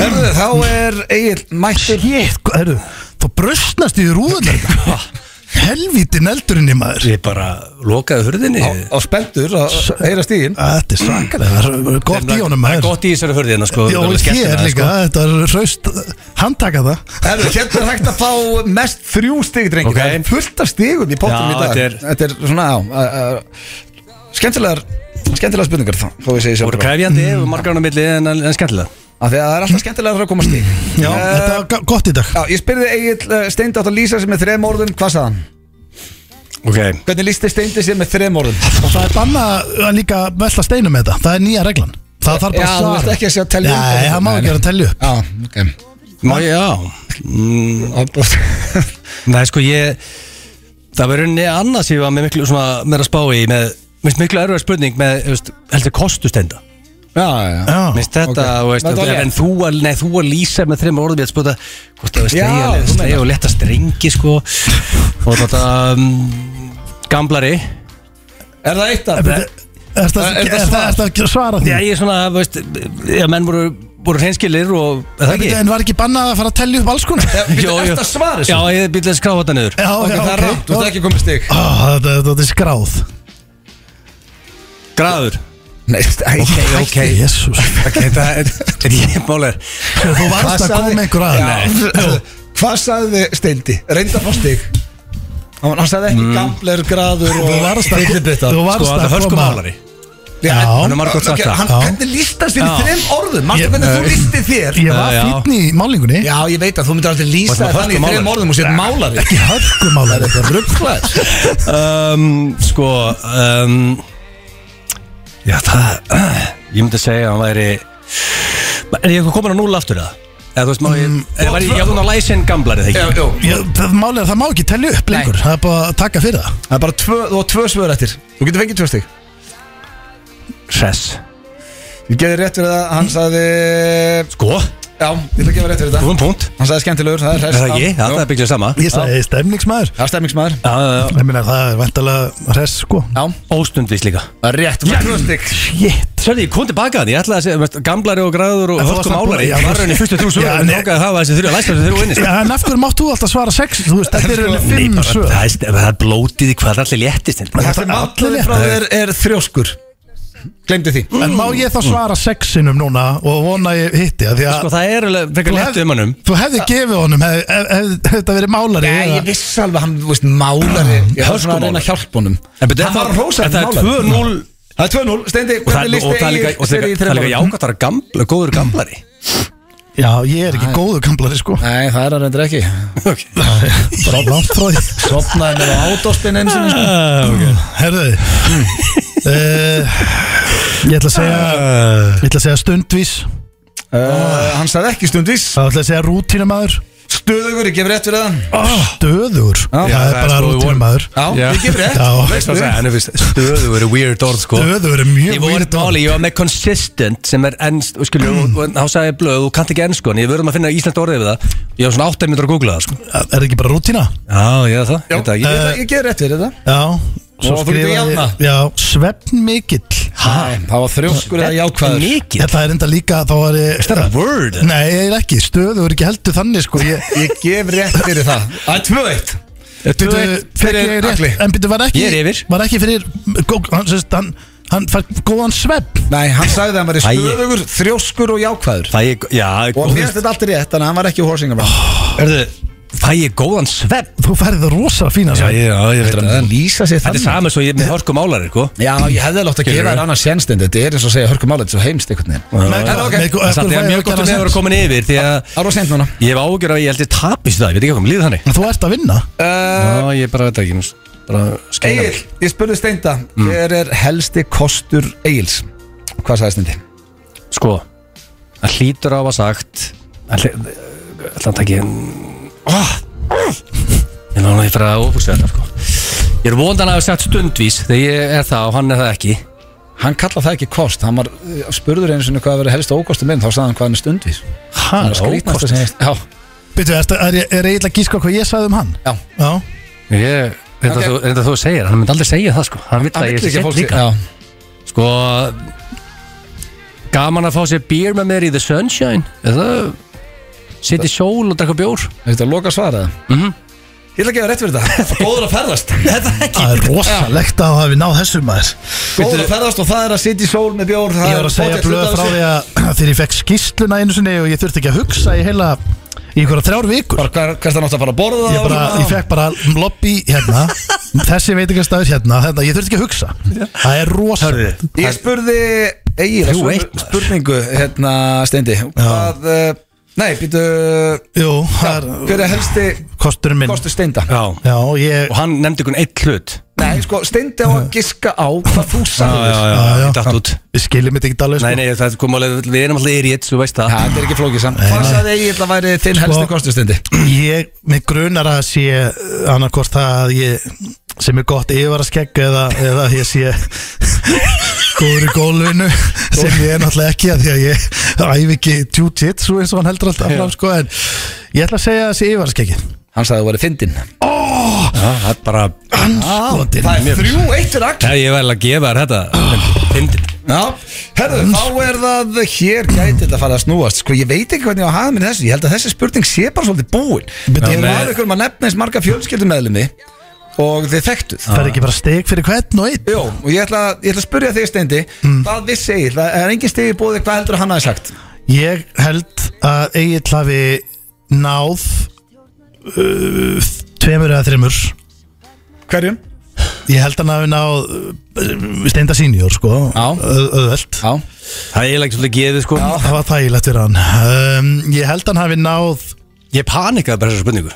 Herðu, þá er Egil mættur
Hétt, hvað eru Sko, Þú bröstnast í
[laughs]
rúðunar Helvíti neldurinn í maður
Ég bara lokaði hurðinni
á, á speldur að að heyra stíðin
Æ, Þetta er svakalega, það er gott í honum
Það er
maður
gott í þessari hurðina sko
Já,
það er
ég
skemmtilegt,
er líka,
sko.
þetta er hraust Handtaka það
Herðu, hérna er hægt að fá mest þrjú stig, drengi
Ok.
Það er fullt af stigum í pottum
Já,
í dag
þetta er-
Þetta er svona, já uh, Skemmtilegar Skemmtilegar spurningar þá, þó ég segi sjálf
Voru kræfjandi og margarinn á milli en, en skemmtilega
Af því að það er alltaf skemmtilegar að koma stig
Já,
Eh,
þetta er ga- gott í dag
Já, ég spyrði Egil uh, Steindi átt að lýsa sér með þrem orðum Hvað sagði hann?
Ok
Hvernig lýsti Steindi sér með þrem orðum?
Og það er banna að líka velta steinum með þetta Það er nýja reglan Það þarf bara
Já, þú vilt ekki að sjá að telja upp.
Nei, það má ekki vera að telja upp
Já, ok
Má ég, já mm, Nei, sko ég Það verður enni annað sem ég var með miklu svona, með að spá í með, minnst miklu erfið spurning með, þú veist, heldur kostustenda
[laughs] Já, já,
Já.
Mist þetta,
ok.
þú veist,
Þetta var
en,
létt.
en þú að, nei, þú að lýsa með þreim orðum ég að spota hvort það
Já,
var
þú
sleið
meinar.
og letta strengi sko og þetta um, gamblari
Er það eitt að
Er þetta
Er- er
er
þetta
þetta- er þetta að svara því?
Já, ég er svona, þú veist, já, menn voru, voru hreinskilir og er það ekki?
En var ekki bannað að fara að tellja upp alls konar?
Já, býttu,
Jó,
ertu
jó.
að svara þessu?
Já, ég býtla að skrá þetta niður
Já,
Ok,
já, Ah,
það er rátt, þú ert ekki komið stig
Á, Þetta þetta er skráð
Graður
Nei,
Ok, ok,
Jésús
ok, [laughs] það er, ég mála er
Þú varst að koma einhver að
Já, Hvað sagði Steindi? Reynda fá stig Hann hann sagði
Mm.
ekki gambler, graður og
Þú varst að,
fyllibitta.
þú varst
Sko, þetta
að
er hörku
koma
málari
Já,
Já.
en-
Hann er margótt sagt
ok,
það
hann-
Já.
Hvernig lístast þér í
Já.
þrem orðum? Manstu
Ég-
hvernig þú lísti þér?
Ég
Já,
var
já.
fítn í málingunni
Já, ég veit að þú myndir aldrei
Og
lýsa
svona
þér þannig í
hörkumálari.
þrem orðum og sér málari
Ekki hörkumálari
Það er rugglaðis
um, Sko um, Já það Ég myndi segja að hann væri Er ég komin að núla aftur það? Eða þú veist má
Mm,
ég eða var Ég ég var búin að læsa inn gamlar eða ekki
Málið er að það má ekki tellja upp lengur Það er bara að taka fyrir það
Það er bara tvö, þú var tvö svör eftir Þú getur fengið tvö stig
Hress
Ég geði rétt fyrir það, hann sagði
Sko
Já, ég ætla að gefa rétt fyrir það
Góðum punkt
Hann sagði skemmtilegur, það er
Er
hress
það ekki? Já það er byggjað sama
Ég sagði stemningsmaður
Það er stemmingsmaður
Já, já, já.
Ég meina það er vantalega hress sko
Já,
Óstundvís líka
það er rétt, þú fær tvö stig
Shit Sörði, ég kom tilbaka þannig Ég ætlaði að segja veist, Gamblari og græður og
En þú varst
hörkum
að búa-
álari
já,
Ég var
þú-
raunin í fyrstu þrjú
Já,
sögur
en-
Mér langaði að hafa þessi þrjú að læsa þessi þrjú inni
Já, en af hverju máttu þú alltaf svara sex Þú veist, þetta eru henni fimm
sko.
sög
Það er- það er blótið í hvað allir léttist hérna.
Það sem allir frá þér er þrjóskur Glemdi því
En má ég þá svara sexinum núna og vona ég hitti að því að
Sko það er alveg
þú
frekar létt
hefði-
um hannum
Þú hefði gefið honum hef, hef, hef, hef þetta verið málari
Nei,
eða-
ég vissi alveg, hann, þú veist, málari Ég var svona að reyna að hjálpa honum
En betur,
Hann var
en
rósað
það er 2-0
Það er 2-0, Steindi,
Og það,
hvernig
og það er líka, og það er
lísti
líka, það er líka jákvæmt að vera gamla, góður gamlari
Já, ég er ekki góðu kamplari sko
Nei, það er hann reyndir ekki
Bara langt frá því [laughs]
Sopnaði með átóspinn eins og
Ah, Herðu uh, Ég ætla að segja Ég ætla að segja stundvís
Hann sagði ekki stundis
Þá ætla ég að segja rútínumæður
Stöðugur, ég gef rétt fyrir það
Döður Já, það er
það er
bara
sko, við vorum-
rútínumæður
Já,
Já.
ég gef rétt
Já.
Veistu?
Það er fyrst stöðu verið weird orð sko
Döður er
Ég
mjög
voru
weird orð.
máli, ég var með consistent sem er ennst, og skilju, og- og þá sagði ég blöð og kannt ekki enn sko, en ég verðum að finna íslenskt orðið við það Ég var svona 8 minnur að googla það sko
Er það ekki bara rútína?
Já, Eh, ég það,
Ég
ég það ekki
ætla- Ég gef rétt fyrir það
Já
Og þú getur jafna.
Já, svefnmikill
Nei, Það var þrjóskur eða jákvæður
eh, Mikið, Eh,
Þetta er enda líka þá er ég
þetta er word
Nei, ég er ekki, stöður er ekki heldur þannig sko Ég
Ég gef rétt fyrir það Það er 2-1
Eh,
Bíddu,
eitt
fekk
fyrir
ég rétt?
Agli.
En byrju, var ekki
Ég er yfir.
Var ekki fyrir gó- Hann, sérst, hann, hann fær góðan svepp
Nei, hann sagði að hann var
Æi.
stöðugur, þrjóskur og jákvæður
Fæ ég, já,
Og mér finnst þetta alltaf rétt, þannig að hann var ekki hósingar Það
erðu, fæ ég góðan svepp
Þú færði það rosa fína
Já,
svepp
ég, já, ég veit
er
það
lýsa sér
Þetta er sama svo ég með hörku málar, sko
Já, ég hefði lótt að gefa þér annars sénstend Þetta er eins og að segja hörkum álega, þetta er svo heimst einhvern veginn
Með-
En ok,
með-
Það satt ég að
fær
mjög gott að
það
við
svepp?
vorum komin yfir Því að
það var sent núna
ég hef ágjör að ég held ég tapist það Ég veit ekki hvað mér líður þannig
En Þú ert að vinna
Eh,
Já, ég bara veit ekki Bara skilja
Egil, ég spurði Steinda Hver er helsti kostur Egils? Hvað sagði Steindi?
Sko, það hlýtur á að hafa sagt Ætla að taki oh. Ég nána ég fyrir að óbústa þetta sko. Ég er vondan að hafa sagt stundvís Þegar ég er það og hann er það ekki
Hann kallað það ekki kost Hann var eh, spurður einu sinni hvað verið helsti ókostur minn Þá sagði hann hvað hann er stundvís
Hæ,
Það er skrýtnast að segja Já,
Býtu, sko. er ég er eiginlega að gíska hvað ég sagði um hann?
já
Já
Ég, þetta
Ok.
þú, þetta þú segir, hann myndi aldrei segja það sko Hann vill
Hann
að
vill
ég sé
ekki að
sett
fólk sé-
líka
Já.
Sko Gaman að fá sér býr með mér í The Sunshine Eða Sitt í sól og drekka bjór
Er þetta að loka svaraða? Ég ætla að gefa rétt fyrir þetta Mhm. Góður að [laughs] ferðast
Það er rosalegt að hafi náð þessum maður
Góður að ferðast og það er að sitja í sól með bjór það
Ég var
er
að segja
pottet hluti
blöð
af
frá
þessu.
því að [clears throat] Þegar ég fekk skýsluna einu sinni Og ég þurfti ekki að hugsa í heila Í einhverja þrjár vikur
Bara hver- Hvert hann átti að fara að borða
Ég, bara,
og-
ég fekk bara lobby
[laughs]
hérna Þessi veitingastæður hérna, hérna Ég þurfti ekki að hugsa Það er rosalegt
Ég spurði Egil
Þrjú
spur-
eitt, maður.
Spurningu hérna Steindi Hvað eh, Nei, býtu
Jú, það er
Hver er helsti
kosturinn minn
Kostu Steinda
Já
Já, ég
Og hann nefndi einhvern eitt hlut
Nei, sko Steindi á að giska á Hvað þú sagðir
já, já.
Ég datt út
Við skiljum þetta ekki alveg
Nei,
sko.
nei, það kom alveg, við erum alltaf erið, þú veist
Ha,
það
Þetta er ekki flókið samt Hvað sagði Egil að væri
Sko-
þinn helsti kostu Steindi?
Ég, mig grunar að sé eh, annarkvort það að ég sem er gott yfir að skegga eða, eða að ég sé góður í gólfinu sem ég er náttúrulega ekki að því að ég æfi ekki tjútitt svo eins og hann heldur alltaf fram sko en ég ætla að segja þessi yfarskeggi
Hann sagði að það væri fyndin
Já, það er bara
anskotin
Það er þrjú eitt fyrir Axel
Já, ég verði að gefa þér þetta Fyndin
Já, herðu, þá er það hér gæti þetta að fara að snúast Sko, ég veit ekki hvernig ég á að hafa minni þessu Ég held að þessi spurning sé bara svolítið búin
Betur-
Ég var ykkur um að nefna eins marga fjölskyldumeðlumi Og þið þekktuð
Það er ekki bara steg fyrir hvern og einn
Jó, og ég ætla, ég ætla að spyrja þig steindi
Hmm.
Hvað vissi Egil, það er engin stegi búið Hvað heldur að hann hafi sagt?
Ég held að Egil hafi náð uh, tveimur eða þreimur
Hverjum?
Ég held að hann hafi náð uh, steinda senior sko
Já.
Ö- auðvelt
Já,
Það er eiginlega ekki svolítið gefið sko
Það var þægilegt fyrir hann um, Ég held að hann hafi náð
Ég panikaði bara þessar spurningu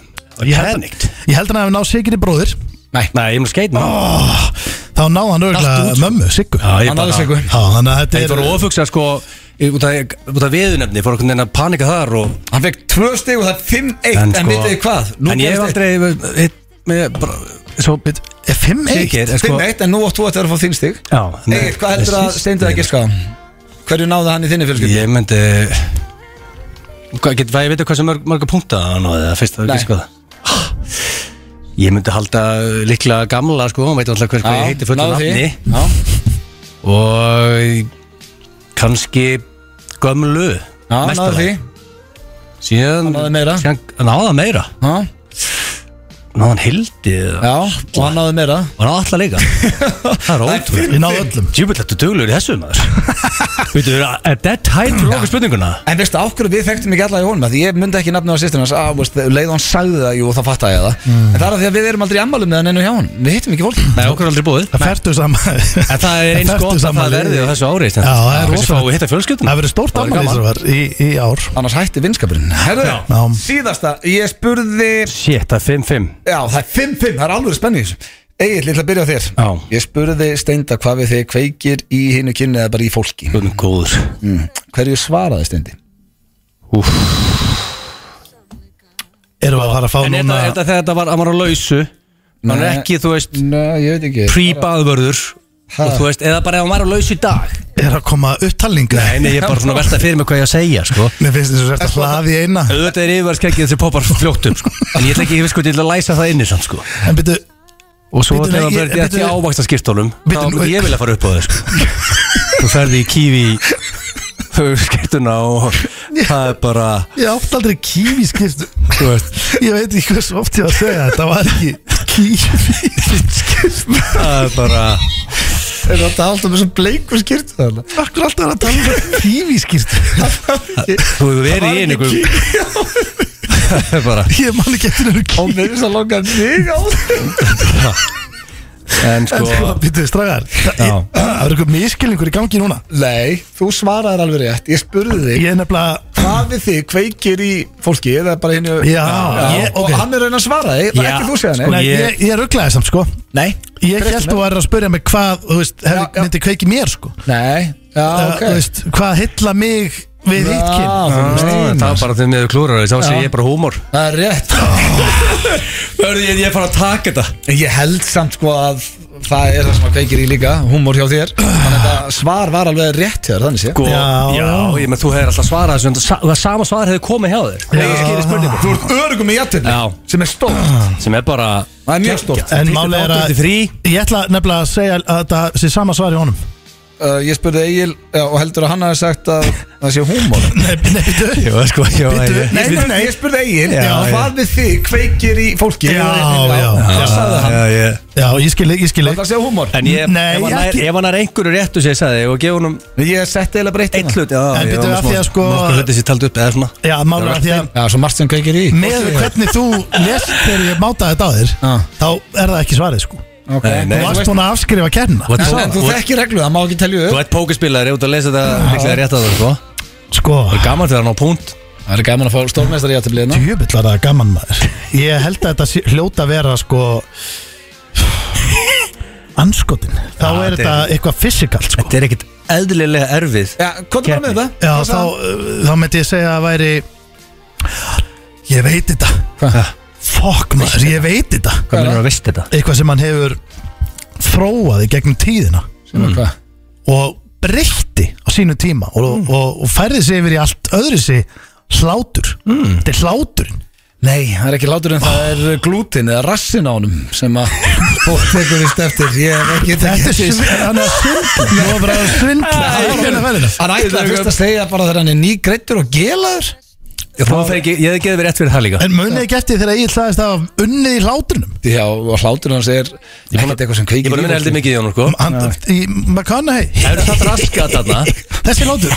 Ég held, ég held að hann hafi náð Sigri bróðir Ah,
Nei, nei, ég er mér skeit oh,
Þá náð hann
Allt
örgulega
út.
mömmu, Siggu Já,
ég
hann
bara-
hafi sig
Já, þannig að
Ég
þetta
fór
er
að ofugsa sko ég- Út af- út af viðunefni Fór einhvern veginn að panika þar og
Hann fekk tvö steg og það er 5-1 En, en vitið þið hvað? Nú
sko- En ég hef
gerist
aldrei hitt með bara, Svo bit
Er 5-1
Siggeir er
eitt-
sko
5-1 en nú átt þú að þetta að fá þín stig
Já, nei,
Egil, hvað heldur
ég
að
syns-
steindi að giska? Hverju náði hann í þinni fjölskyldu?
Ég myndi Hvað get, hvað- ég veit hvað sem mörg, mörg punta hann og það fyrst að
Nei.
ekki skoða Ég myndi halda líklega gamla sko, hún veit alltaf hver hvað ég heiti fullu
náðu því.
nafni
Já.
og kannski gömlu
Já, náðu því
mestalagi. síðan
Hann náði meira.
síðan, hann náði meira
Já,
náði hann hildi eða-
já, og hann náði meira
og náði alltaf
[laughs]
líka það er ótrúið
Ég náð öllum
djúbillættu duglur í þessu
[laughs]
maður veitu, er that height fyrir okkur spurninguna
En veistu, af hverju við þekktum ekki alla í honum Af Því ég myndi ekki nafna á sýsturinn hans ah, veist, Leið og hann sagði það, jú, þá fattaði ég það En það er af því að við erum aldrei í ammálum með hann enn hjá hann Við hittum ekki fólk
nei, okkur er aldrei búið
Það fertu saman
en það er eins gott að það verði á þessu ári
Já, það er
rosa
rosalegt.
og hitta fjölskyldun
Það verður stórt
Það er
afmæli
gaman.
Ísravar í, í ár
Annars hætti vinskapurinn Herðu,
Já.
síðasta, ég spurði
shit, það er 5-5
Já, það er 5-5, það er alveg spennu í þessu Egil, ég ætla að byrja á þér
Já.
Ég spurði Steinda hvað við þig kveikir í hinu kynni eða bara í fólki
Guðmund góður
mm. Hverju svaraði Steindi?
Erum við að fara að fá
en er
núna
þetta- er þetta þegar þetta var að maður á lausu hann er
Nei.
ekki, þú veist,
Nei, ég veit ekki
pre-baðvörður
Ha.
og þú veist, eða bara ef hann var á lausu í dag
Er að koma upptalningu
Nei, nei, ég er bara svona að velta fyrir mig hvað ég að segja, sko
Mér finnst þess að þetta hlaði í eina
Auðvitað er yfirvarskeggið sem poppar fljóttum, sko En ég ætla ekki, ég veist sko, ég ætla að læsa það inni samt, sko
En byrju
Og svo þegar
Bíddu, nei,
maður
ég-
verður ekki
bíddu, nei.
ávaksta skiptólum Þá
Bíddu, nú-
myndi ég vilja fara upp á þau, sko Þú ferði í kífi [laughs] skiptuna og það er bara
Ég átti aldrei kífi skiptu
Þú veist,
Ég veit ekki hversu oft ég var að segja þetta var ekki kífi skiptu
það er bara
Er þetta alltaf með þessum bleikur skýrt þarna?
Akkur alltaf er að tala um kífi skiptu
Þú hefur verið í einu einhverjum- Það er bara
Ég man ekki eftir einu
Og mér er svo langar mig á
En sko,
kífi Byrju stragar Það
Já.
það er eitthvað miskilningur í gangi núna
Nei, þú svaraðir alveg rétt Ég spurði þig
Ég er nefnilega
Hvað við þig kveikir í fólki eða bara hinu
Já, ég- ok.
Og hann er raun að svara þig Það er
Já,
ekki þú segja
sko,
hann
Nei,
ég-
ég, ég er rugglaðið samt sko
Nei
Ég
Frekar
held þú væri að spyrja mig hvað Þú veist, hefði,
Já, já.
myndi kveiki mér sko
Nei, já,
uh,
ok
þú veist, hvað hitla mig við
Já,
hitt
þú
kyn
veist.
Ah, það var bara þegar miður klúrar Þá sé ég bara húmor
Það er rétt
Hörðu, ég er fara að taka þetta
En Ég held samt sko að það er það sem að kveikir í líka Húmor hjá þér Þannig að þetta svar var alveg rétt hjá þér þannig sé
Sko,
Já.
já, ég menn þú hefur alltaf svarað þessu en það sa- það sama svar hefur komið hjá þér
Já.
Ég skilur spurningu
Þú ert örugum í jættinni
Já. Ah,
Sem er stórt
sem er bara
Það er mjög stórt
En málið er að
83.
Ég ætla nefnilega að segja að þetta sé sama svar í honum
uh, Ég spurði Egil já, og heldur að hann hafi sagt að það sé húmor
Nei, nei, býttu
Jó, sko, já,
Bíddu,
Nei, nei, nei, ég spurði Egil
Já,
Hvað við þig kveikir í fólki
Já,
Eða-
já,
Hvað sagði hann?
já, já.
Já, ég skil, ég skil
Var það að segja húmor?
En ég,
Nei,
ef, hann er,
ekki.
ef hann er einhverju réttu sem ég sagði og gefa honum
Ég setti eða breytt
eitt hlut já,
En
ég
bíddu,
var með
af því að
smá-
sko-
nokkur hluti sem ég taldi upp eða svona
Já, málega því að
Já, svo margt sem Ah. kveikir í
Með hvernig þú lest þegar ég mátaði þetta á þér
Já.
Þá er það ekki svarið sko
okay.
Þú
Nei,
varst búin að afskrifa kærna
En,
Þú-
en þú
þú-
þekkir reglu, það má ekki telja
Þú
upp
ert pókerspilari út að lesa þetta líklega rétt að það sko Það
Sko,
er gaman þegar hann á punkt
Það er gaman að fá stórmestari í aðtöfliðina
djöfull var það gaman maður Ég held að þetta sé- hljóta að vera sko Anskotin Þá
Já,
er
þetta
þetta
er-
eitthvað fysikalt sko
Þetta er ekkit eðlilega erfið
Já, hvað er bara með það?
Já, þá, uh, þá myndi ég segja að væri Ég veit þetta
Hvað?
Fuck maður, ég veit þetta
Hvað mennur að veist þetta?
Eitthvað sem hann hefur þróað í gegnum tíðina
Mm. Sem er hvað?
og breytti á sínu tíma og,
Mm.
og, og færði sig yfir í allt öðru sig hlátur
Mm.
þetta er hláturinn
Nei, það er ekki látur en það er glútin eða rassin á honum sem að fólk tekur vist eftir Ég er ekki
þetta er svindl hann er að svindla Nú er bara að svindla Það er alveg að verða þetta.
Hann ætlaði fyrst að segja bara þegar hann er nýgreittur og gelaður
Ég hef ekki verið rétt fyrir það líka
En munið ekki eftir þegar ég hlaðist af unnið í hláturnum
Já, og hlátur hans er ekkert eitthvað sem
Ég
kveikir
er búin að minna heldur mikið í honum sko
Hann- í McConaughey
Það er það raskat þarna
þessi hlátur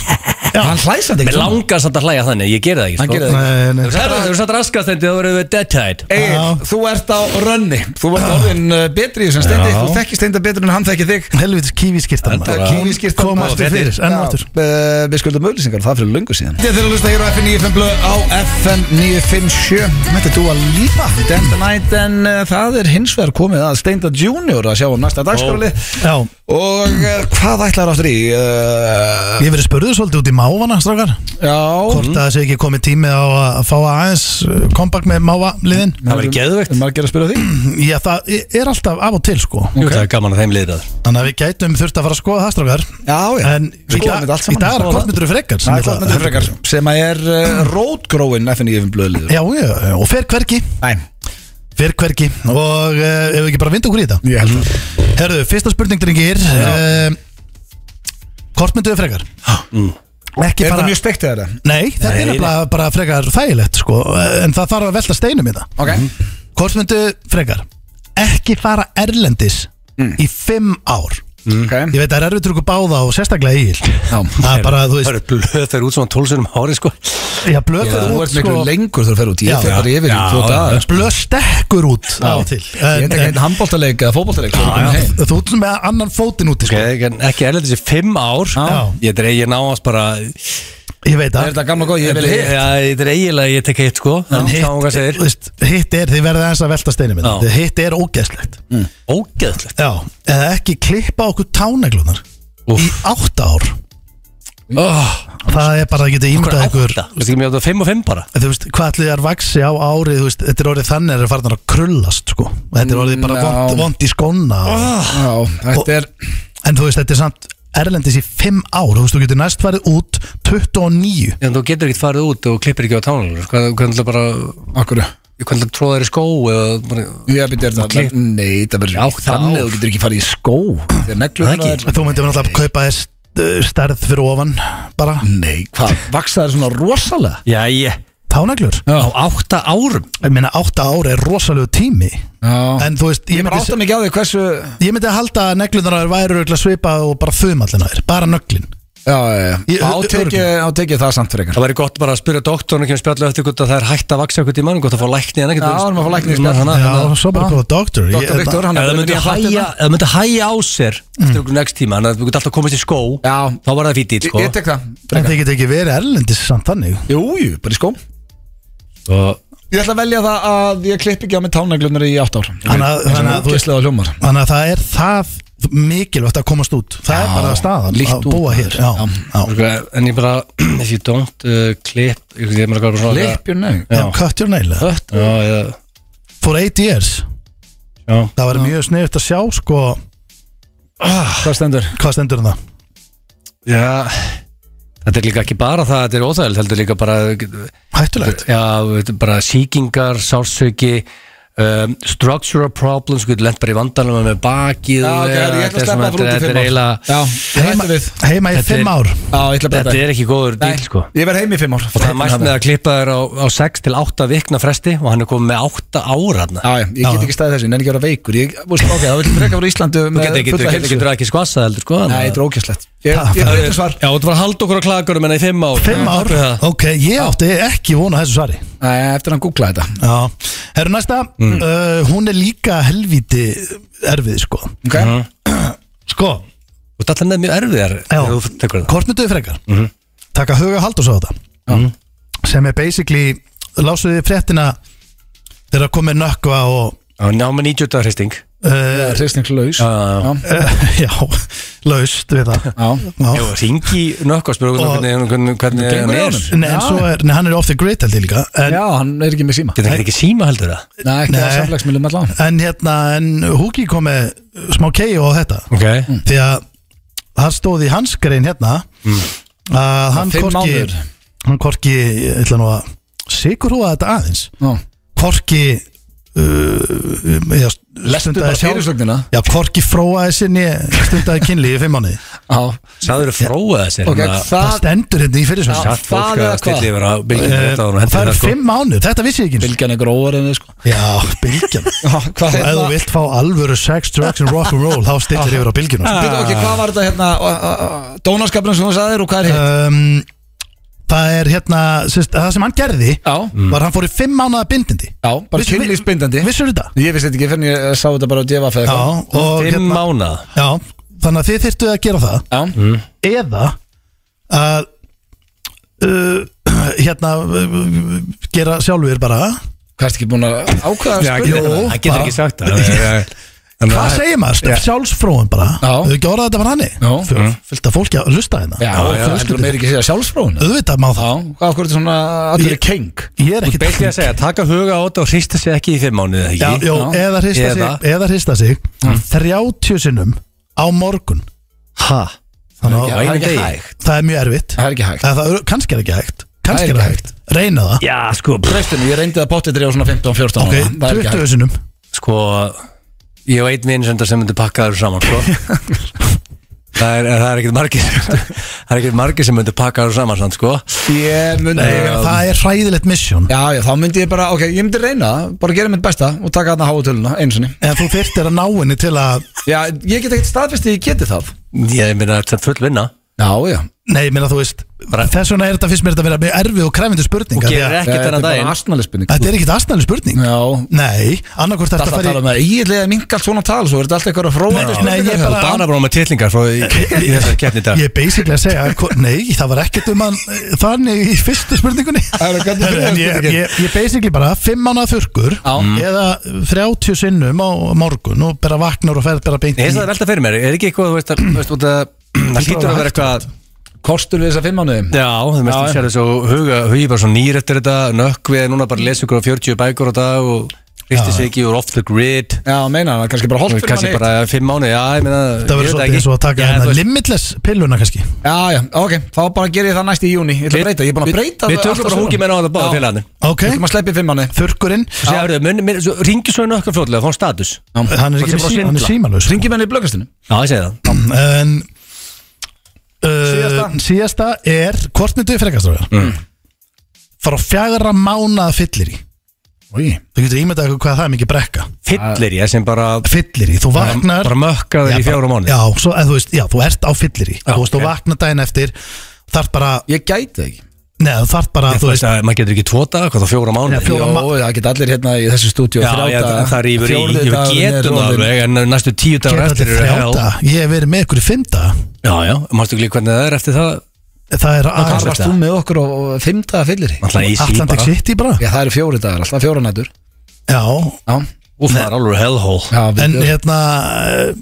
Já.
Hann hlæsandi
Mér langar samt að hlæja þannig, ég ger það ekki
Hann
sko
gerir það
Nei, nei.
Það eru- það eru satt raskat þegar þú verður dead-tied
Egil, þú ert á rönni Þú ert orðin uh, betri í þessum stendi Þú þekkir steinda betur en hann þekkir þig
helvitis kívískirtan
Þetta er kívískirtan.
kom aftur fyrir enn og aftur
uh, Við skuldum auðlýsingar, það er fyrir löngu síðan Þetta er að hlusta hér á FM 95 blöð á FM 957 Þetta er þú að lípa Dance the Night En uh, það er hins vegar komið að Steinda Junior að sjá um næsta dagskáli
Já,
Og uh, hvað ætlar áttur í? Uh,
ég hef verið spurður svolítið út í mávana, strákar
já
Hvort að það sé ekki komið tími á að fá aðeins uh, comeback með mávaliðin
Það væri geðveikt.
Er margir að spyrja því?
Já, það er alltaf af og til, sko
Jú, það er gaman að þeim liðrað
Þannig að við gætum þurft að fara að skoða það, strákar
Já, já
En í
Skoðum
dag
þetta allt saman.
í dag er
Skoðum það.
Kortmyndur Frekar sem
Það
ég
er Kortmundur Frekar
ætla-
Sem að er uh, rótgróin FN í FM blöðliður
Já, já, já, og fer hvergi
Næ,
Fer hvergi Og uh, ef við ekki bara vinda okkur í þetta
ég held það
Herðu, fyrsta spurning, drengir uh, Kortmyndur Frekar Ekki
Er það
fara
mjög steikt eða það?
Nei,
Nei,
þetta er nefnilega bara frekar þægilegt sko, en það þarf að velta steinum í það
Ok
Hvort myndu frekar ekki fara erlendis
Mm.
í fimm ár
Ok
Ég veit að það er erfitt ykkur báða og sérstaklega íl Það er bara, þú
Það
veist,
eru blöð þeir út svona 12 sinum ári sko
já,
Já,
blöðfæður
Þú
út
ert miklu
sko,
lengur þurfa að ferja út
Já,
Ég fer
já.
bara yfir í
Já,
tvo
já.
daga sko.
blöð stekkur út á og til
Ég enda
en,
ekki einn
en,
handbóltaleik eða fótbóltaleik
en, Þú ert með annan fótinn úti sko.
Ég er Ekki erlendis í 5 ár
Já.
Ég dreig ég náast bara
Ég veit
Er
að
þetta gamla góð? Ég vil hitt
Já, Ég dreig eiginlega ég tek hitt sko
en
Þannig að hún
hitt,
segir
þú veist, hitt er, þið verðið aðeins að velta steinum í
Já. Mm.
það Hitt er ógeðslegt
Ógeðlegt
Já, eða ekki klippa okkur táneglunar
Úff.
Í átta ár
Það
Það er bara að geta
er
ímyndað ykkur
átta Þú veist ekki mér átta 5 og 5 bara
Þú veist, hvað allir þar vaksi á árið þú veist, Þetta er orðið þannig að það er farin að krullast sko. Og Þetta er orðið bara
Já.
vond, vond í skóna
Ah.
Já, þetta er
En þú veist, þetta er samt Erlendis í 5 ár, þú veist, þú getur næst farið út 29
En þú getur ekkert farið út og klippir ekki á tánlegur Hvernig hvernig ætla bara
Akkur
Hvernig ætla tróða þér í skó eða bara-
Ég byrja þetta
Klipp.
Nei, það verður
Já,
ekki þannig
þá.
Þú getur ekki farið í skó Þegar neglur
Það ekki.
Þú myndir náttúrulega að kaupa þess uh, stærð fyrir ofan bara
Nei, hvað? Vaksaður svona rosalega?
Jæja
tánaglur
Á átta árum
Ég meina 8 ár er rosalegu tími
Já
En þú veist, ég
Ég bara átta
myndi,
mikið á því hversu
ég myndi að halda að neglunar væru örugglega svipað og bara þumallina þér, bara nöglin
Já, já,
Ég-
já Átekið átekið það samt fyrir
Það væri gott bara að spyrja doktorn og kemur spjallu eftir hvort að það er hægt að vaksa eitthvað í mann hvort að fá lækni en ekkert
Já, það er maður að fá lækni í spjall.
Já, svo bara góða doktor Ég-
Dr. Viktor, hann
Ef
er
það myndi
byrjað að
hægja,
hætta
ef það myndi hægja á sér eftir okkur next tíma, þannig að þú myndi alltaf komast í skó
Já.
þá var það fítið,
þetta.
sko
Ég tek það
En
frekar.
þið getur ekki verið erlendis samt þannig
Jú, jú, bara í skó
og
Ég ætla að velja það að ég klipp ekki á mig tánaglunar í 8 ár
Þannig að- þannig að þú-
Gæslega hljómar
Þannig að það er það mikilvægt að komast út Það er
Já,
bara staðan
líkt
að
út,
búa
maður.
hér Já, já,
en ég bara, [clears throat] if you don't uh, clip, ég ég er mér að gera bara svona
Klipp, jú, nei
já Cut your nail eða?
Ött, já, já,
For 8 years
já
Það var mjög sniðut að sjá sko
Hvað stendur?
Hvað stendur um það?
já þetta er líka ekki bara það, þetta er óþægild heldur líka bara,
Hættulegt
já, þetta er bara sýkingar, sársöki um, structural problems, við lent bara í vandanum með bakið
Já, ok,
eða-
ég ætla að
þetta er
sleppa
svona-
það frá út í
þetta er
fimm ár
eiginlega
Já, ég
Heima,
hætti við
heima í
Þetta er-
5 ár
Já, ég ætla að breyta
þetta er ekki góður
Nei,
díl, sko
Ég verð heim í 5 ár
Og það er mætt með að klippa þér á, á 6 til 8 vikna fresti og hann er komið með 8 ára hann
Já, já, ég get ekki staðið þessu, en ekki að vera veikur Ég, þú veist, ok, þá vil ég freka frá Íslandu
Þú getur ekki, þú getur ekki, ekki skvassað heldur sko
Nei, þetta er ókjæslegt Ég
Það-
ég-
það-
þetta er svar
Já, þú var að halda okkur á klagurum en í 5 ár
5 ár, ok, ég átti ekki vona þessu svari
Nei, eftir að hann googla þetta
Já, herru næsta
Mm.
uh, Hún er líka helvíti erfið sko
Ok,
Sko,
Þú ert alltaf nefn mjög erfiðar
Já.
þegar þú tekur það
Hvort mynduðu frekar?
Mhm.
Taka huga Halldórs á þetta sem er basically lásuðu þið fréttina þegar komið nökkva og
Já, ná með 90 dagar hristing
uh,
hristingslaus
Já, já, já.
Já,
[laughs] já, laust við
[laughs]
það
já
Já.
Jú, ringi nökk og spyrja
Og-
hvernig, hvernig, hvernig
Gengur
hann
í
er
honum?
Nei, en svo er, nei, hann er off the grid held ég líka en,
Já, hann er ekki með síma
Getur það ekki síma heldur það
Nei, ekki að
Nei.
samfélagsmiðlum allan
Mm.
en hérna, en Hugi kom með smá kei á þetta
Ok
því að það stóð í hans grein hérna að hann
Mm. fimm
korki
mánuðir.
hann korki, ég ætla nú að sigurhúa þetta aðeins
Já.
korki uh,
Lestu bara fyrirsögnina.
já, korki fróaði sinni stundaði kynli í fimm mánuði
Já.
Sæður að fróa þessi
Ok,
það
það
stendur hérna í fyrir
Já.
svona
hérna? Satt fólk
það
að
eða hvað?
stilla yfir á bylgjum
Eh, það eru
sko.
fimm
sko.
mánuð, þetta vissi ég ekki einu sinni.
Bilgjan er gróður en þið sko
Já, bylgjan
[laughs] Já, hvað
Og ef þú
hérna-
vilt fá alvöru sex, drugs and rock'n'roll Þá stillir yfir á bylgjuna sko.
Býta, ok, hvað var þetta hérna Dónaskapnum sem þú sagðir og hvað er hérna? hitt?
um, Það er hérna sérst, Það sem hann gerði
Já,
Var hann fór í fimm mánaða bindindi
já, bara
Vissu-
kynlýsbindandi
Vissur þetta?
Ég vissi þetta ekki fyrir en ég sá þetta bara á djefaf eða
Já,
eitthvað
og
Fimm
hérna
mánað
Já, þannig að þið þyrftu að gera það
Já,
Eða að uh, [clears throat] Hérna uh, Gera sjálfur bara
hvað ertu ekki búin að ákveða að
Já,
spurja?
getur-
Jú,
Það getur ekki sagt það Þannig
Hvað
að-
segir maður? Stöf sjálfsfróin bara
Já.
Þau ekki orðað þetta var
Já.
hann Fylgta fólki að hlusta hérna
Já, heldur þú meir ekki að segja sjálfsfróun? Já,
Auðvitað má það
hvað okkur er þetta svona allir er
Ég-
keng?
Ég er
Þú
ekki
beitt ég að segja, taka huga á þetta og hrista sig ekki í fimm mánuð
Já,
ekki?
jó, eða hrista
Eða-
sig, eða hrista sig 30 sinnum á morgun
Ha? Já,
Þannig að
það er
einu
ekki
degi.
hægt
það er mjög erfitt
Það er ekki hægt
Eða það er, Kannski er ekki hægt
Það er
Kannski er
ekki
ekki hægt Reyna það
Já, sko,
Treystinu, ég reyndi það bóttið þér á svona 15-14
Ok,
ára. Það er ekki
20
hægt
sinnum
sko Ég og einn vinn sem þetta sem myndi pakka þessu saman sko. það, er, það er ekkert margir [laughs] Það er ekkert margir sem myndi pakka þessu saman sant, sko.
Ég myndi
Ég meina, Það er hræðilegt misjón
Um, Já, já, þá myndi ég bara, ok, ég myndi reyna það, bara gera mitt besta og taka þarna háutöluna, einu sinni.
En þú þyrftir að ná henni til að
Já, ég get ekkert staðfest að ég geti það.
Ég meina þetta er full vinna
Já, já.
Nei, ég meina þú veist
Bara-
Þess vegna er þetta fyrst mér þetta að vera mjög erfið og krefindi
Og
spurning af því
gerir
að
ekki
Þetta er
þennan
bara
daginn
astnalið spurning.
Þetta er ekkit aðstæðanlega spurning
Já,
Nei, annarkvort
það er
þetta
alltaf að
fari
tala um- með, ég ætlaði að minga allt svona tal, svo er þetta alltaf eitthvað að
Nei,
fróða.
nei, ég
Bara,
bara-
bara bara með tillingar svo í, í þessari keppni í dag
[laughs] Ég er basically að segja, hvo- nei, það var ekkert um hann þannig í fyrstu spurningunni
Herra, hvernig byrjaði
En ég,
spurningin?
ég, ég basically bara fimm mánuða þurrkur
Já.
eða 30 sinnum á morgun og bara vaknar og ferð bara beint
Ég hefði það velta fyrir mér, er ekki eitthvað þú veist, að, þú veist, út að, það hlýtur að vera eitthvað
Kostur við þessa fimm mánuði.
Já, þú veist,
Já,
þú sér þessu huga, hugi bara svo nýr eftir þetta, nökkvið, núna bara lesa ykkur á 40 bækur á dag og hristi sig ekki úr off the grid
Já, meina það, kannski bara
og
holdt fyrir
kannski
manni.
bara 5 mánu, já, ég meina
Það verður svolítið eins og að taka hérna limitless pilluna kannski
Já, já, ok, þá bara ger ég það næst í júni. Ég ætla að breyta, ég er búin að breyta.
Við tökum bara húki menna á þetta báða félagarnir
Ok,
Við tökum að sleipi fimm mánuði.
þurrkurinn
Þú sér, hörðu, ringi svo nökkvið fljóðlega, fá hann status Já,
Hann
Þú
er ekki
ert bara
með
að
sí- hann er
svindla.
símalus
Ringi menni í blöggastinu.
ég segi það
En
Síðasta.
uh, Síðasta er Hvort myndu við frekast á
Mm.
það? Fara á fjagra mánuða fyllir í Þú getur ímyndað ykkur hvað það er mikið brekka
Fyllir ég sem bara,
Fyllir í, þú vaknar
bara mökkaður
Já,
í fjóra mánu
Já, svo, eða, þú veist, já, þú ert á fyllir í Þú veist, þú
ok.
vaknar daginn eftir Þarf bara,
Ég gæti það ekki.
neða, þú þarf bara, þú veist
Maður getur ekki tvo dag, hvað þá fjóra mánu
Já, fjó-
Jó,
Fjóra ma-
það geta allir hérna í þessu stúdíu
Já, já, það það rýfur í, ég getur það alveg, en næstu tíu dagur
Geta
eftir
allir
eru hell.
þrjáta, ég hef verið með ykkur í fymta
Já, já, mástu ekki líka hvernig það er eftir það
Það er
Hvað
aðeins
varst þú með okkur og fymta fyllir í?
Alltaf easy
Atlantic
bara
City bara
Já, það eru fjóri dagar, alltaf fjóra nætur
Já,
Já,
Úf, það er alveg hellhole
já við-
en hérna eh,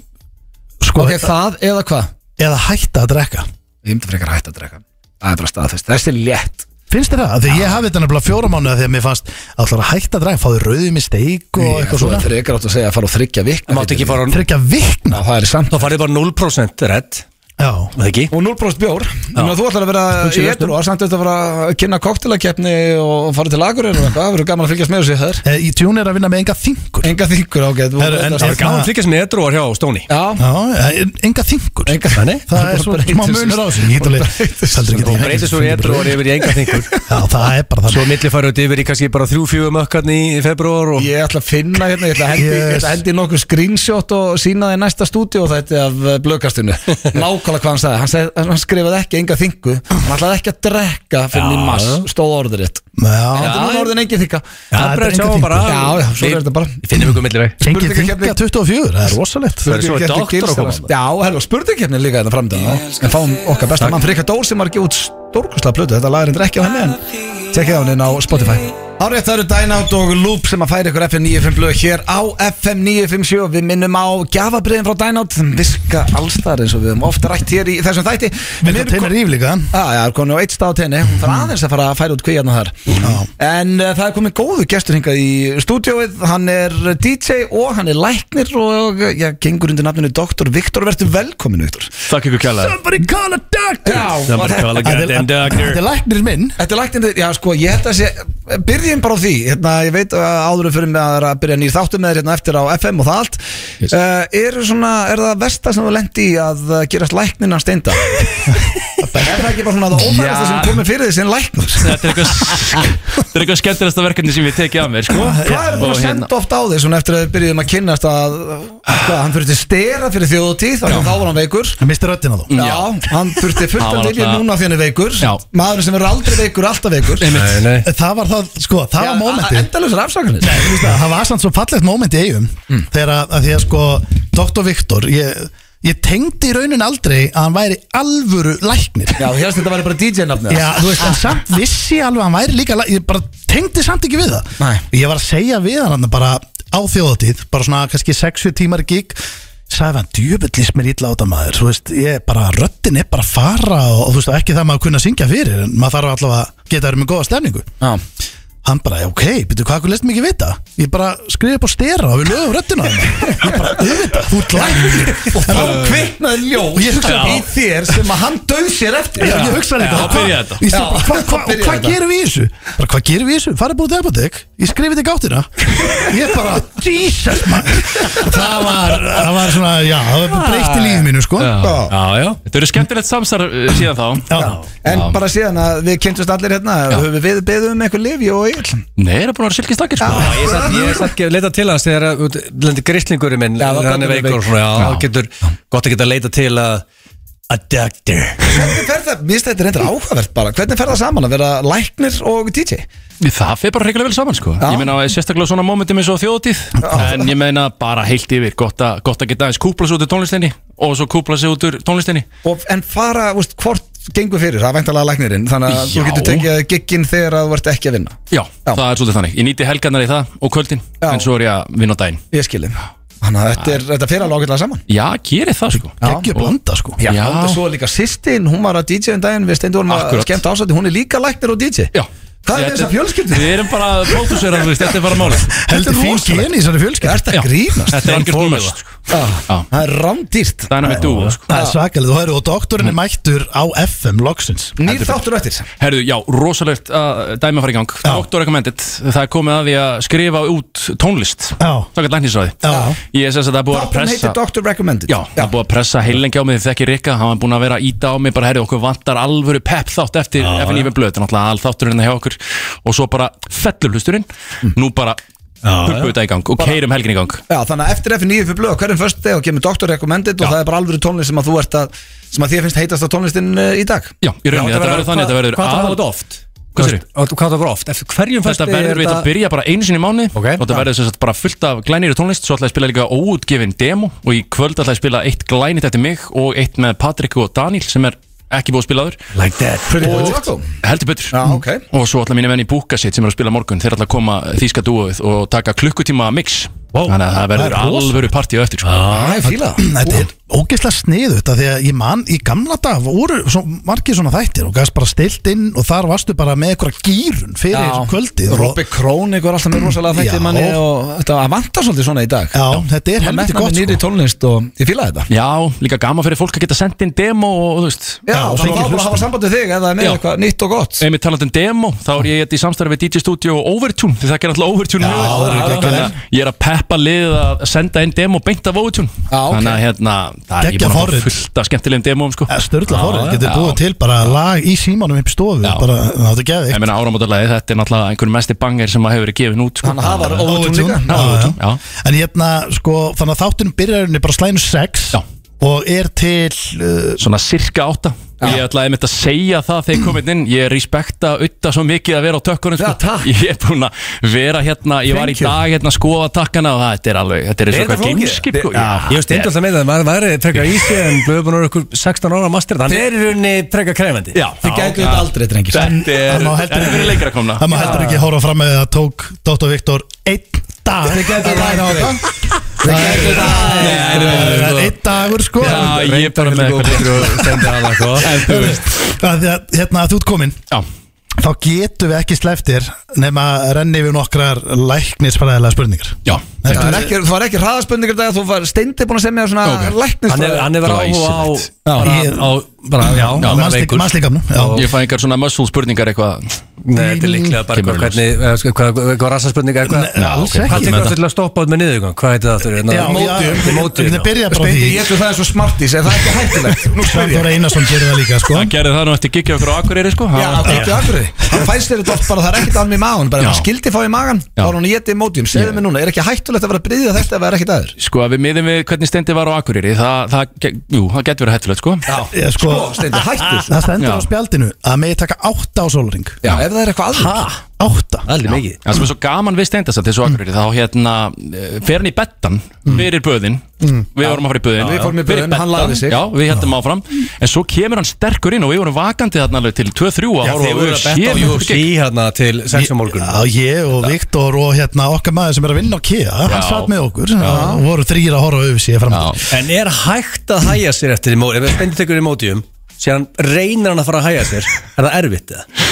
Sko,
Ok, það eða hvað?
eða hætta að drekka
Ég myndi frekar hægt að drekka Það er bara staðfest, þessi er létt
Finnst þér það? Af Því ég hafi þetta nefnilega fjóra mánu Þegar mér fannst ætlar að hætta að drekka Fáðu rauðum í steik og
Ég, Þú
eitthvað
er
svona
frekar átt að segja að fara og þryggja vikna
Máttu
fyllir
ekki
í.
fara á
Þrekkja vikna
Já, það er samt
Þá farið bara 0% redd
Já,
Það ekki?
Og 0% bjór Þannig að þú ætlar að vera
Hugsa
í
í
etru og samt eftir að fara að kynna koktelakefni og fara til lagurinn og eitthvað Það verður gaman að fylgjast með þessu þar
Eh, í tjún er að vinna með enga þingur
Enga þingur, ok þú-
Herru, en-
þetta-
en-
Gáðum þykja sem edruar hjá Stóni
Já,
Já, eh, enga þingur
enga
Það er svo smá munur á þessu Ég get alveg- heldur ekki
Og
að ég-
breytist úr edruar yfir í enga þingur
[laughs] Já, það er bara það
Svo milli farið yfir í kannski bara 3-4 mökkarni í februar og
Ég ætla að finna hérna, ég ætla að hendi,
Yes.
yes. hendi nokkuð screenshot og sína það í næsta stúdíu og þetta af eh, blöðkastinu Nákvæmlega hvað hann sagði, hann, sagði, hann skrifaði ekki enga þingu, hann ætlaði ekki að drekka fyrir ja. mass, stóð orður rétt
Já,
Þetta er núna orðin engin þinga
Já,
það er
bara
enga
sjáum
þingur.
bara
Já, já, svo er þetta bara
Við finnum ykkur milli veg
Engin
Spurningakeppni.
þinga 24, það er rosalegt
Það er svo
Spurningakeppni
doktor að
Gils
koma.
Evans. Já, helga, spurningkeppni líka hérna þetta framdana En fáum okkar besta mann Frikka Dór sem var að gefa út stórkurslega plötu Þetta lag er endur ekki á henni en tekja á henni inn á Spotify Árið það eru Dynout og Loop sem að færa ykkur FM 95 blöð hér á FM 957 og við minnum á gjafabriðin frá Dynout sem virka allstar eins og við höfum ofta rætt hér í þessum þætti
Við erum teimur íflíka
Ah, Já, já, það er komið á eitt stað á tenni Hún þarf aðeins að fara að færa út kvíjarna þar En uh, það er komið góðu gestur hingað í stúdíóið Hann er DJ og hann er læknir og uh, já, gengur undir nafninu Dr. Viktor Vertu velkominu, Viktor
Takk ykkur kjallað
Somebody call a doctor
Já,
Somebody call a goddamn
Þetta
doctor
er læknir minn
Þetta er læknir, já sko, ég held að sé Byrjum bara á því, hérna, ég veit að áður fyrir mig að það er að byrja nýr þáttum með þér hérna eftir á FM og það allt yes. er, svona, er það versta sem þú lendi í að eh, gerast læknina steinda? [laughs] er það ekki bara svona það ófærasta
Já.
sem komið fyrir því sem læknur?
Þetta er eitthvað Þetta er eitthvað skemmtilegasta verkefni sem ég tekið af mér sko.
Hvað er búin
Og
að
hérna-
senda oft á þig svona eftir að við byrjuðum að kynnast að hvað, hann fyrir til stera fyrir þjóðutíð þá þá var hann veikur
Það misti röddina þú
Já, hann þurfti fullt
Hann
að
var
vilja
alltaf-
núna því hann er veikur
Já.
Maðurinn sem er aldrei veikur, er alltaf veikur
Nei, nei
Það var það, sko, það var mómentið
Endalusar afsakanir
Þú veist það, það var samt svo fallegt moment í eigum þegar að, að því að sko Dr. Viktor, ég, ég tengdi í raunin aldrei að hann væri alvöru læknir
Já, þú hérst þetta væri bara DJ-nafnið
Já, þú veist, en
[laughs]
samt vissi alveg að hann væri líka læ- ég bara tengdi samt ekki við það
Nei.
ég var að segja við hann þarna bara á þjóðatíð, bara svona kannski 60 tímar í gig sagði hann, djöfullis mér illa á þetta maður þú veist, ég bara, röddin er bara að fara og, og þú veist, ekki það maður kunna að syngja fyrir en maður þarf allavega að geta verið með góða stefningu
Já.
hann bara, já, ok, betur hvað, hvað leist mikið vita ég bara skriði upp á stera og við lögum röddina á þeim
[laughs]
ég bara, auðvitað, þú ert læknir og
Þá kviknaði
Og ég
ljós
hugsaði
í þér sem að hann döð sér eftir
Já, ég hugsaði
Já,
líka
þá byrjaði þetta.
Ég sagði bara,
Já,
hva, hva,
þá byrjaði
Og hvað
þetta.
gerum við í þessu? Bara, hvað gerum við í þessu? Farið búið til apotek Ég skrifið þetta í gáttina Ég bara, Jesus man Það var, það var svona, já Það var breykt í lífið mínu, sko
Já,
Já,
já, já. Þetta eru skemmtilegt samsar síðan þá
En
Já.
bara síðan að við kynntumst allir hérna Höfum við beðið um eitthvað lifi og eigin
Nei, það er búin að vera silkistakir sko.
Já, Ég satt, ég satt ekki að leita til hans þegar að lendi gríslingurinn minn
Já, það
þegar hann er
gat verið
veikur og svona, já, þá getur gott að geta að leita til að a doctor
Hvernig fer það, mér finnst þetta reyndar áhugavert bara Hvernig fer það saman að vera læknir og DJ?
Það fer bara reglulega vel saman sko.
Já.
Ég meina á sérstaklega svona momentum eins og þjóðtíð En ég meina bara heilt yfir Gott, a, gott að geta aðeins kúpla sig út úr tónlistinni Og svo kúpla sig út úr tónlistinni
Og, en fara, veist, hvort gengur fyrir það er væntalega læknirinn Þannig að þú
Já.
getur tekið gigginn þegar að þú ert ekki að vinna
Já,
Já.
það er svolítið þannig Ég nýti helgarnar í það og kvöldin
Já.
En svo er ég að vinna á daginn
Ég skilin Þannig að þetta, er, þetta fer alveg ágætlega saman
Já, gerir það sko
Gekkið blanda, sko
Já.
Og svo líka sýstin, hún var að DJ um daginn Við steindu vorum að
Akkurat.
skemmt ásætti Hún er líka læknir og DJ
Já
Hvað er með þessa fjölskyldu?
Við erum bara pródúsera, þú veist, þetta er bara málið
[laughs]
Heldur fín geni í þessari fjölskyld
Ertu að
Já.
grínast?
Þetta er sko. algjör búið
Já. Ah, Það er rándýrt
Dynamic Duo sko.
Það er svakalega, þú hefur og doktorinn er mættur á FM loksins
Nýr þáttur á eftir
Herðu, já, rosalegt uh, að dæma fara í gang Doktor Recommended, það er komið að því að skrifa út tónlist
Já.
Sákvæmt læknisræði
Já.
Ég er sem sagt að búið
Þátturinn
að pressa
heitir Dr. Recommended
Já, það er búið að pressa heilengi á mig því þekki Rikka Hann var búin að vera að íta á mig bara, herri, okkur vantar alvöru pep þátt eftir FNF blöð Þetta er náttúrulega all þátturinn hjá okkur Og svo bara fellur hlusturinn Nú bara pumpu þetta í gang og keirum helgin í gang
Já, þannig að eftir F9 fyrir blöð, hverjum först deg og kemur Dr. Recommended og það er bara alvöru tónlist sem að þú ert að sem að þér finnst heitast á tónlistin eh, í dag
Já, í rauninni, þetta verður þannig, þetta verður
Hvað það
aðal-
var oft?
Hvað segirðu?
Hvað það var oft? Eftir hverjum
Þetta verður við að byrja bara einu sinni í mánu
Ok.
og þetta verður sem sagt bara fullt af glænýri tónlist svo ætla ég að spila líka óútgefin demo og í kvöld ætla ég að spila eitt glænýtt eftir mig og eitt með Patrik og Daniel sem er ekki búið að spila aður
Like that
Pretty Boy
Og-
Jocko
heldur betur
Já, ok.
og svo ætla mínu menn í Búkasitt sem er að spila morgun þeir ætla að koma þýska dúoð og taka klukkutíma mix
Vá.
þannig að það
Það
verður
er rosa.
alvöru partí á eftir sko.
Það er fíla
[clears throat] Þetta er ógeðslega sniðu þetta því að ég man í gamla dag voru svo margir svona þættir og gæst bara stilt inn og þar varstu bara með eitthvað gýrun fyrir kvöldið og-
Robby Kronig var alltaf með rosalega
Já.
þætti manni og þetta það vantar svolítið svona í dag
Já, þetta er
Það
helviti
metna
gott
með nýri
sko.
tónlist og ég fíla þetta
já, líka gaman fyrir fólk að geta sendt inn demo og þú veist
Já, þannig
og fengið
að bara
hlustun.
hafa samband við þig eða með
Já.
eitthvað nýtt og gott
Einmitt talað um demo, þá er ég í samstarfi við DJ Studio og Overtune, þið þekkir alltaf Overtune mjög vel.
það er geggjað.
Þannig að ég er að peppa liðið að senda inn demo beint af Overtune
Já, ok.
Þannig að hérna, það er ég
Geggjað
búin að
forrit.
fá fullt af skemmtilegum demóum sko.
Eh, Sturla horrið, getur
já.
búið til bara lag í símanum upp í stofu
Já.
bara, það er geðið
Ég meina áramótalagi, þetta er náttúrulega einhvern mesti banger sem að hefur verið gefin út sko.
Þannig að það var óvitun líka
Já, Overtune, já.
En hérna, sko, hérna þannig að þáttunum byrjarinn er bara slænu 6
Já.
og er til uh,
Svona cirka átta Ég ætlaði einmitt að segja það þegar ég kom hérna inn Ég respekta auðvitað svo mikið að vera á tökkunum sko.
Já, takk.
[laughs] Ég er búinn að vera hérna Ég var í
Thank you.
dag hérna að skoða takkana og það, þetta er alveg, þetta er eins og
þetta
hvað
flókið?
gameskip sko. Já,
Ég veist einnig alltaf með það, maður væri frekar í sig en blöðu búin að vera ykkur 16 ára master Þannig er í rauninni frekar krefandi
já,
Þið gætu þetta aldrei, drengir
Þetta
það
er,
má
þetta
heldur
er fyrir
ekki-
leikra komna
Það má heldur ekki horfa fram með það tók Dóttar Viktor einn dag
Þið gætu
að
þetta
læra á
aldrei.
það
Þið gætu þetta
Nei,
aldrei
nei, nei.
Það er einn dagur sko
Já, ég er bara með eitthvað betri og sendi að það sko. [laughs] En þú veist
Af því að, Hérna að þú ert komin
Já,
Þá getum við ekki sleftir nema að renni við nokkrar læknisfræðilega spurningar
já
Það var ekki, það var ekki hraðaspurningar dag Þú var steindi búin að segja mér svona
Ok.
okay.
Hann er, hann er áhuga á,
Glæsilegt.
bara,
Ég-
á bara, Já,
Já,
Á
maður
mannslík-
veikur.
Mannslíkamnum já.
Ég fæ einhver svona muscle spurningar eitthvað
Nei, þetta er líklega bara
Kemur
eitthvað hvernig, eh, sko, hvað, hvað, hvað rassaspurning er hvað?
Nei, alls ekki.
Hvað tekur það til að stoppa út með niðurgang? Hvað heitir það aftur? Hérna,
Já,
mótum.
já,
Mótum,
Við byrja bara á
Steindi,
því
ég ætlum það er svo smartis Er það ekki hættilegt? Nú spyr ég
[laughs] Svanþór Einarsson gerir það líka sko
Það gerði það nú eftir gigja okkur á Akureyri sko
Já, það er ekki akkur Hann fæst þér þetta oft bara Það er ekkert alveg í magan Bara ef
Já.
hann skildi fá í magan Þá
Já.
er hann étið í mótjum Segðu mér núna Er ekki hættulegt að vera að bryðja þetta Ef það er ekkert aður?
Sko að við miðum við hvernig stendi var á Akureyri Það, það, ge- jú, það getur verið hættulegt sko
Ég, sko,
Sko, steindi, hættu
Það stendur
Já.
á spjaldinu að megi taka átta á sólring
Já, ef það er eitthvað aður
Átta
Allir mikið.
Það sem er svo gaman við steindastand þessu Akureyri þá hérna eh, fer hann í bettan fyrir böðin við vorum að fara í böðin
Við fórum í
Fyrir
böðin, hann
beddann.
lagði sig.
Já, við hættum áfram en svo kemur hann sterkur inn og við vorum vakandi þarna alveg til 2-3 að horfa
Þeir voru að betta á
sér-
UFC hérna til 6 á morgun.
Já, ég og Viktor og hérna okkar maður sem er að vinna á KIA hann
Já.
satt með okkur og voru þrýra að horfa yfir sig fram
Já.
En er hægt að hæja sér eftir í mótum? Ef stendur tekur í mótum, síðan reynir hann að fara að hæja sér, er það erfitt eða?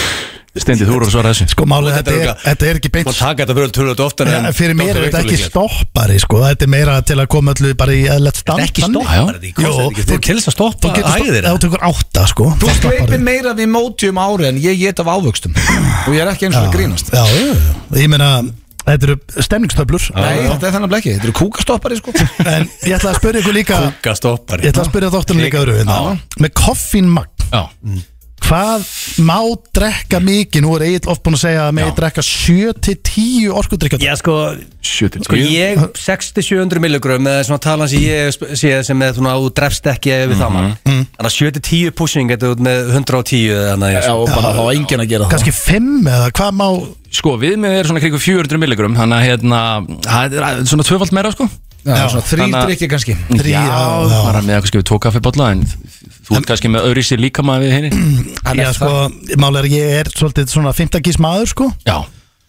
Steindi, þú voru að svara þessu
Sko málið,
Þetta er
þetta, er-
örugglega-
þetta er ekki beint
Man taka þetta fyrir tölvöld ofta
Ja, fyrir mér er þetta ekki stoppari sko. þetta er meira til að koma öllu bara í eðlert stand
Ekki
þannig.
Já.
stoppar þetta ekki, kostar
Jó,
þetta ekki. Þú kemst að
þú
stoppa
getur
hæðir
stoppað þú tekur átta sko
Þú sleipir meira við mótjum ári En ég get af ávöxtum Og ég er ekki eins og að grínast
já, já, já. ég meina þetta eru stemningstöflur
Nei, þetta er þannig að blekki Þetta eru kúkastoppari, sko
en ég ætla að spyrja ykkur líka
Kúka stoppar
ég ætla að spyrja þóttunum líka öru hérna. með koffínmagn
Já,
hvað má drekka mikið nú er Egil oft búin að segja að með drekka 7-10 orkudrykja
Já sko,
sjötir
sko ég 600-700 milligram eða svona talan sem ég sp- sé sem er svona að þú drefst ekki við það mann Þannig að 7-10 pushing þetta út með 110 eða annað ég
og bara þá enginn að gera
kannski 5 eða hvað má
Sko, viðmið er svona kringu 400 milligram þannig að hérna, það er svona tvöfald meira sko
Já,
Já,
svona þrý
þannig að-
drikki kannski
Þrý,
Já,
já, já.
bara með kannski við tvo kaffibotla en þú ert kannski með öðri sér líka maður við henni
[clears throat] já, sko, mál er að ég er svolítið svona 15 gís maður sko
Já,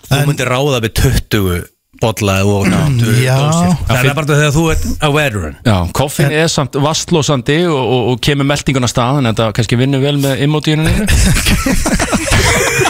Þú myndir ráða við 20 bolla og 20
Já.
dósir. Það er bara þegar þú ert a veteran
já, koffin er samt vastlósandi og, og, og kemur meldingun að staðan en þetta kannski vinnur vel með emotíuninu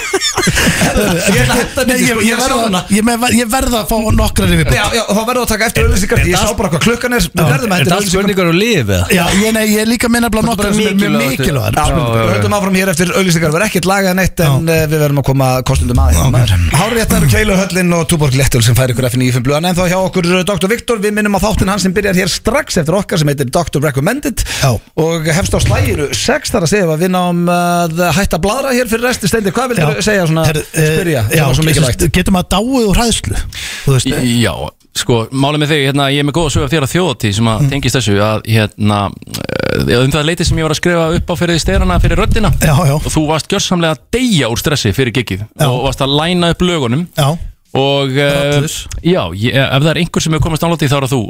[laughs]
Ég ætla að henda
Nei,
myndi,
ég,
sko,
ég,
ég sá
verða,
hana
ég, með, ég verða að fá nokkrar yfir
Já, já, þá verður þú að taka eftir auðlýsingar Ég sá bara hvað klukkan er Við verðum að
Er
henda
þetta allt
auðlýsingar
spurningar á lifi? eða?
Já, ég, nei, ég er líka minna bara nokkrar sem er mjög mikilvægar
Við höldum áfram hér eftir auðlýsingar Við verðum ekkert lagað neitt En eh, við verðum að koma kostundum aðeins Háréttar, Keilu Höllin og Túborg Lettul sem fær ykkur F95 blöðan En þá hjá okkur eh, Dr. Viktor Við minnum á þáttinn hans sem byrjar hér strax eftir okkar sem heitir Dr. Recommended
Já.
Og hefst á slæginu 6 þar að segja að við náum að eh, hætta að bladra hér fyrir resti Steindi, hvað
Já.
vildur segja svona,
Herru, eh,
spyrja,
já,
sem var svo mikilvægt?
getum- Getum að dáið úr hræðslu Þú veist,
Í- Já, sko, málið með þig, hérna, ég er með góða sögur af þér á þjóðatíð sem að
Mm.
tengist þessu að, hérna, uh, um það leiti sem ég var að skrifa upp á fyrir styrana fyrir röddina
Já, já.
og þú varst gjörsamlega að deyja úr stressi fyrir gigið og varst að læna upp lögunum
já
og uh, já, ég, eh, ef það er einhver sem hefur komast álátt í þá er það þú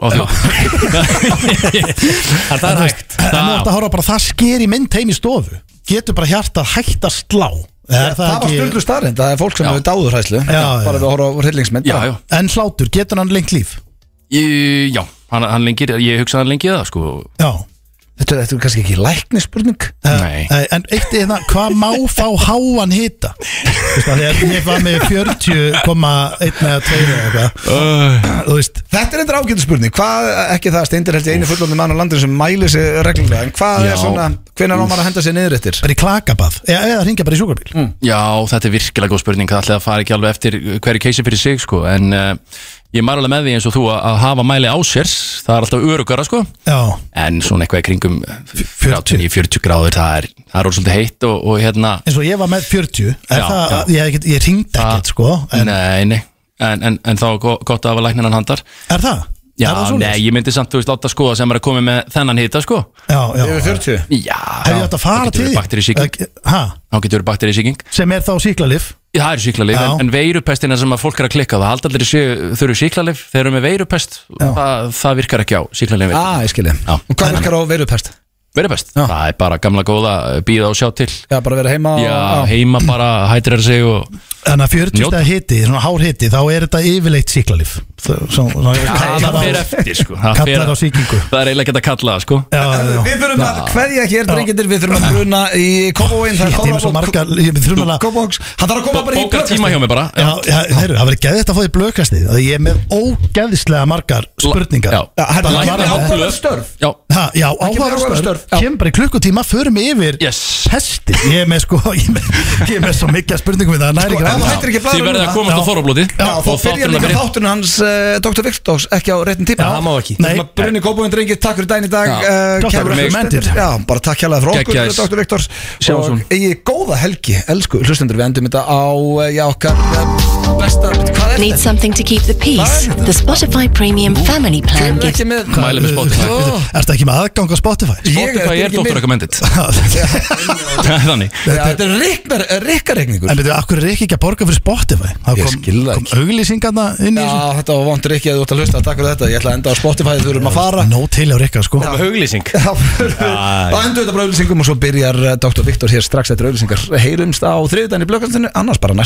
á [laughs] þjóð
Það er hægt En
Það-
þú ætti að horfa bara, það sker í mynd heim í stofu Getur bara hjarta hægt að slá Er
Það var
ekki-
stöldur starrend, það er fólk sem
Já.
hefur dáður hræslu
já,
Bara
já.
við að horfa á hryllingsmynd
Já, já,
En hlátur, getur hann lengt líf
Í- já, hann, hann lengir, ég hugsa hann lengi það, sko
Já
Þetta, þetta er kannski ekki læknisspurning
Eh,
Nei.
eh, En eitt er það, hvað má fá háan hita? Þú veist, af því að ég var með 40,1 eða 2 eða eitthvað
Eh.
Þú veist,
Þetta er eitthvað ágættu spurning Hvað, ekki það að steindir held ég einu fullandi mann á landinu sem mæli sig reglulega En hvað
Já.
er svona, hvenær á maður að henda sig niður eftir?
bara í klakabað Eða eða hringja bara í sjúkarbíl
Mm.
Já, þetta er virkilega góð spurning Það ætlaði að fara ekki alveg eftir hverju keisi fyrir sig sko. En uh, ég mær alveg með því eins og þú að, að hafa mæli á sér Það er alltaf örugara sko.
Já,
En svona eitthvað í kringum
40.
40 gráður Það er, það er orðið svolítið heitt og, og hérna
eins og ég var með 40 já,
Já,
það,
já.
Ég, ég ringd ekkert sko en,
Nei, nei En, en, en þá er go- gott að hafa lækninan handar
Er það?
Já,
Er það svoleiðis?
nei, ég myndi samt, þú veist, láta skoða sem er að koma með þennan hita, sko
já, já.
Yfir 40
Já,
Hefði ég átt að fara til Eh.
því Bakterísíking,
Ha,
þá getur verið bakterísíking
sem er þá síklarlif
Það eru síklarlif,
Já.
en, en veirupestina sem að fólk er að klikka það halda allir séu, þau eru síklarlif þeir eru með veirupest, það, það virkar ekki á síklarlif
Ah, ég skilji
Já.
Og hvað virkar á verupest?
veirupest, það er bara gamla góða býða og sjá til,
Já, bara vera heima og-
já,
á.
heima bara hættir er sig og
Þannig að 40
Njóta.
stæða hiti, svona hár hiti Þá er þetta yfirleitt síklarlif
það fer eftir, sko það fer-
Kallar á sýkingu.
það er eiginlega ekki að kalla það, sko
Við
Við þurfum að hverja hér, drengjendur Við þurfum að bruna í Kópavóin Það er
erum svo
Kópavók-
margar Við þurfum alveg að
Kópavóks Hann þarf að koma bara í
bóka tíma hjá mig bara
Já, já, heyrðu, það verður geðið að fá því blökastið að ég er með ógeðislega margar spurningar
Já.
Bara
Hann
varðandi-
kemur
bara-
ákvöld störf
já,
Ha, já,
kemur
áhugaverð
áhugaverð
störf
störf, já.
Kemur bara í klukkutíma, förum yfir
Yes.
Hesti, ég er með sko [laughs] Ég er með, ég er með svo mikið spurningum við það næri
Sko,
ekki ræða
ef þú hættir ekki að blaðra
þið verðið
núna-
að komast á
Já.
þorrablóti
Já,
Já, þá byrjar líka þáttunum hans uh, Dr. Victors ekki á réttin tíma
Já, það má ekki.
Nei
Nei.
Brunni Kópavóin drengir, takk fyrir daginn í dag
Já.
eh,
Takk
kæru
fyrir mig.
hlustendur. Já, bara takk hérlega fyrir okkur
Geggjaðis.
Dr. Victors
Sjáum svo.
Og eigið góða helgi, elsku hlustendur Við endum þetta á, eh, já, okkar eh, besta Hvað er
Need
þetta?
something to keep the peace? The Spotify Premium Family Plan
Kemur
gives
ekki með
Mæli með Spotify
Ertu ekki með aðgang á [laughs] Spotify?
Ég
Spotify
ekki
er Dr.
með-
Recommended [laughs]
en
þannig
[laughs] Já, Þetta er riknar, rikkareikningur
veitu, akkur er ekki ekki að borga fyrir Spotify? Það
Ég
kom,
skil það
kom auglýsingarna inn í
Já, þetta var vondur ekki að þú ert að hlusta Takk fyrir þetta, ég ætla að enda á Spotify Þú erum að fara
Nó til á Rikka, sko
Huglýsing
Þá [laughs] förum við- þá endur þetta bara auðlýsingum og svo byrjar eh, Dr. Viktor hér strax eftir auðlýsingar Heyrumst á þriðdæni blökkastinu, annars bara næst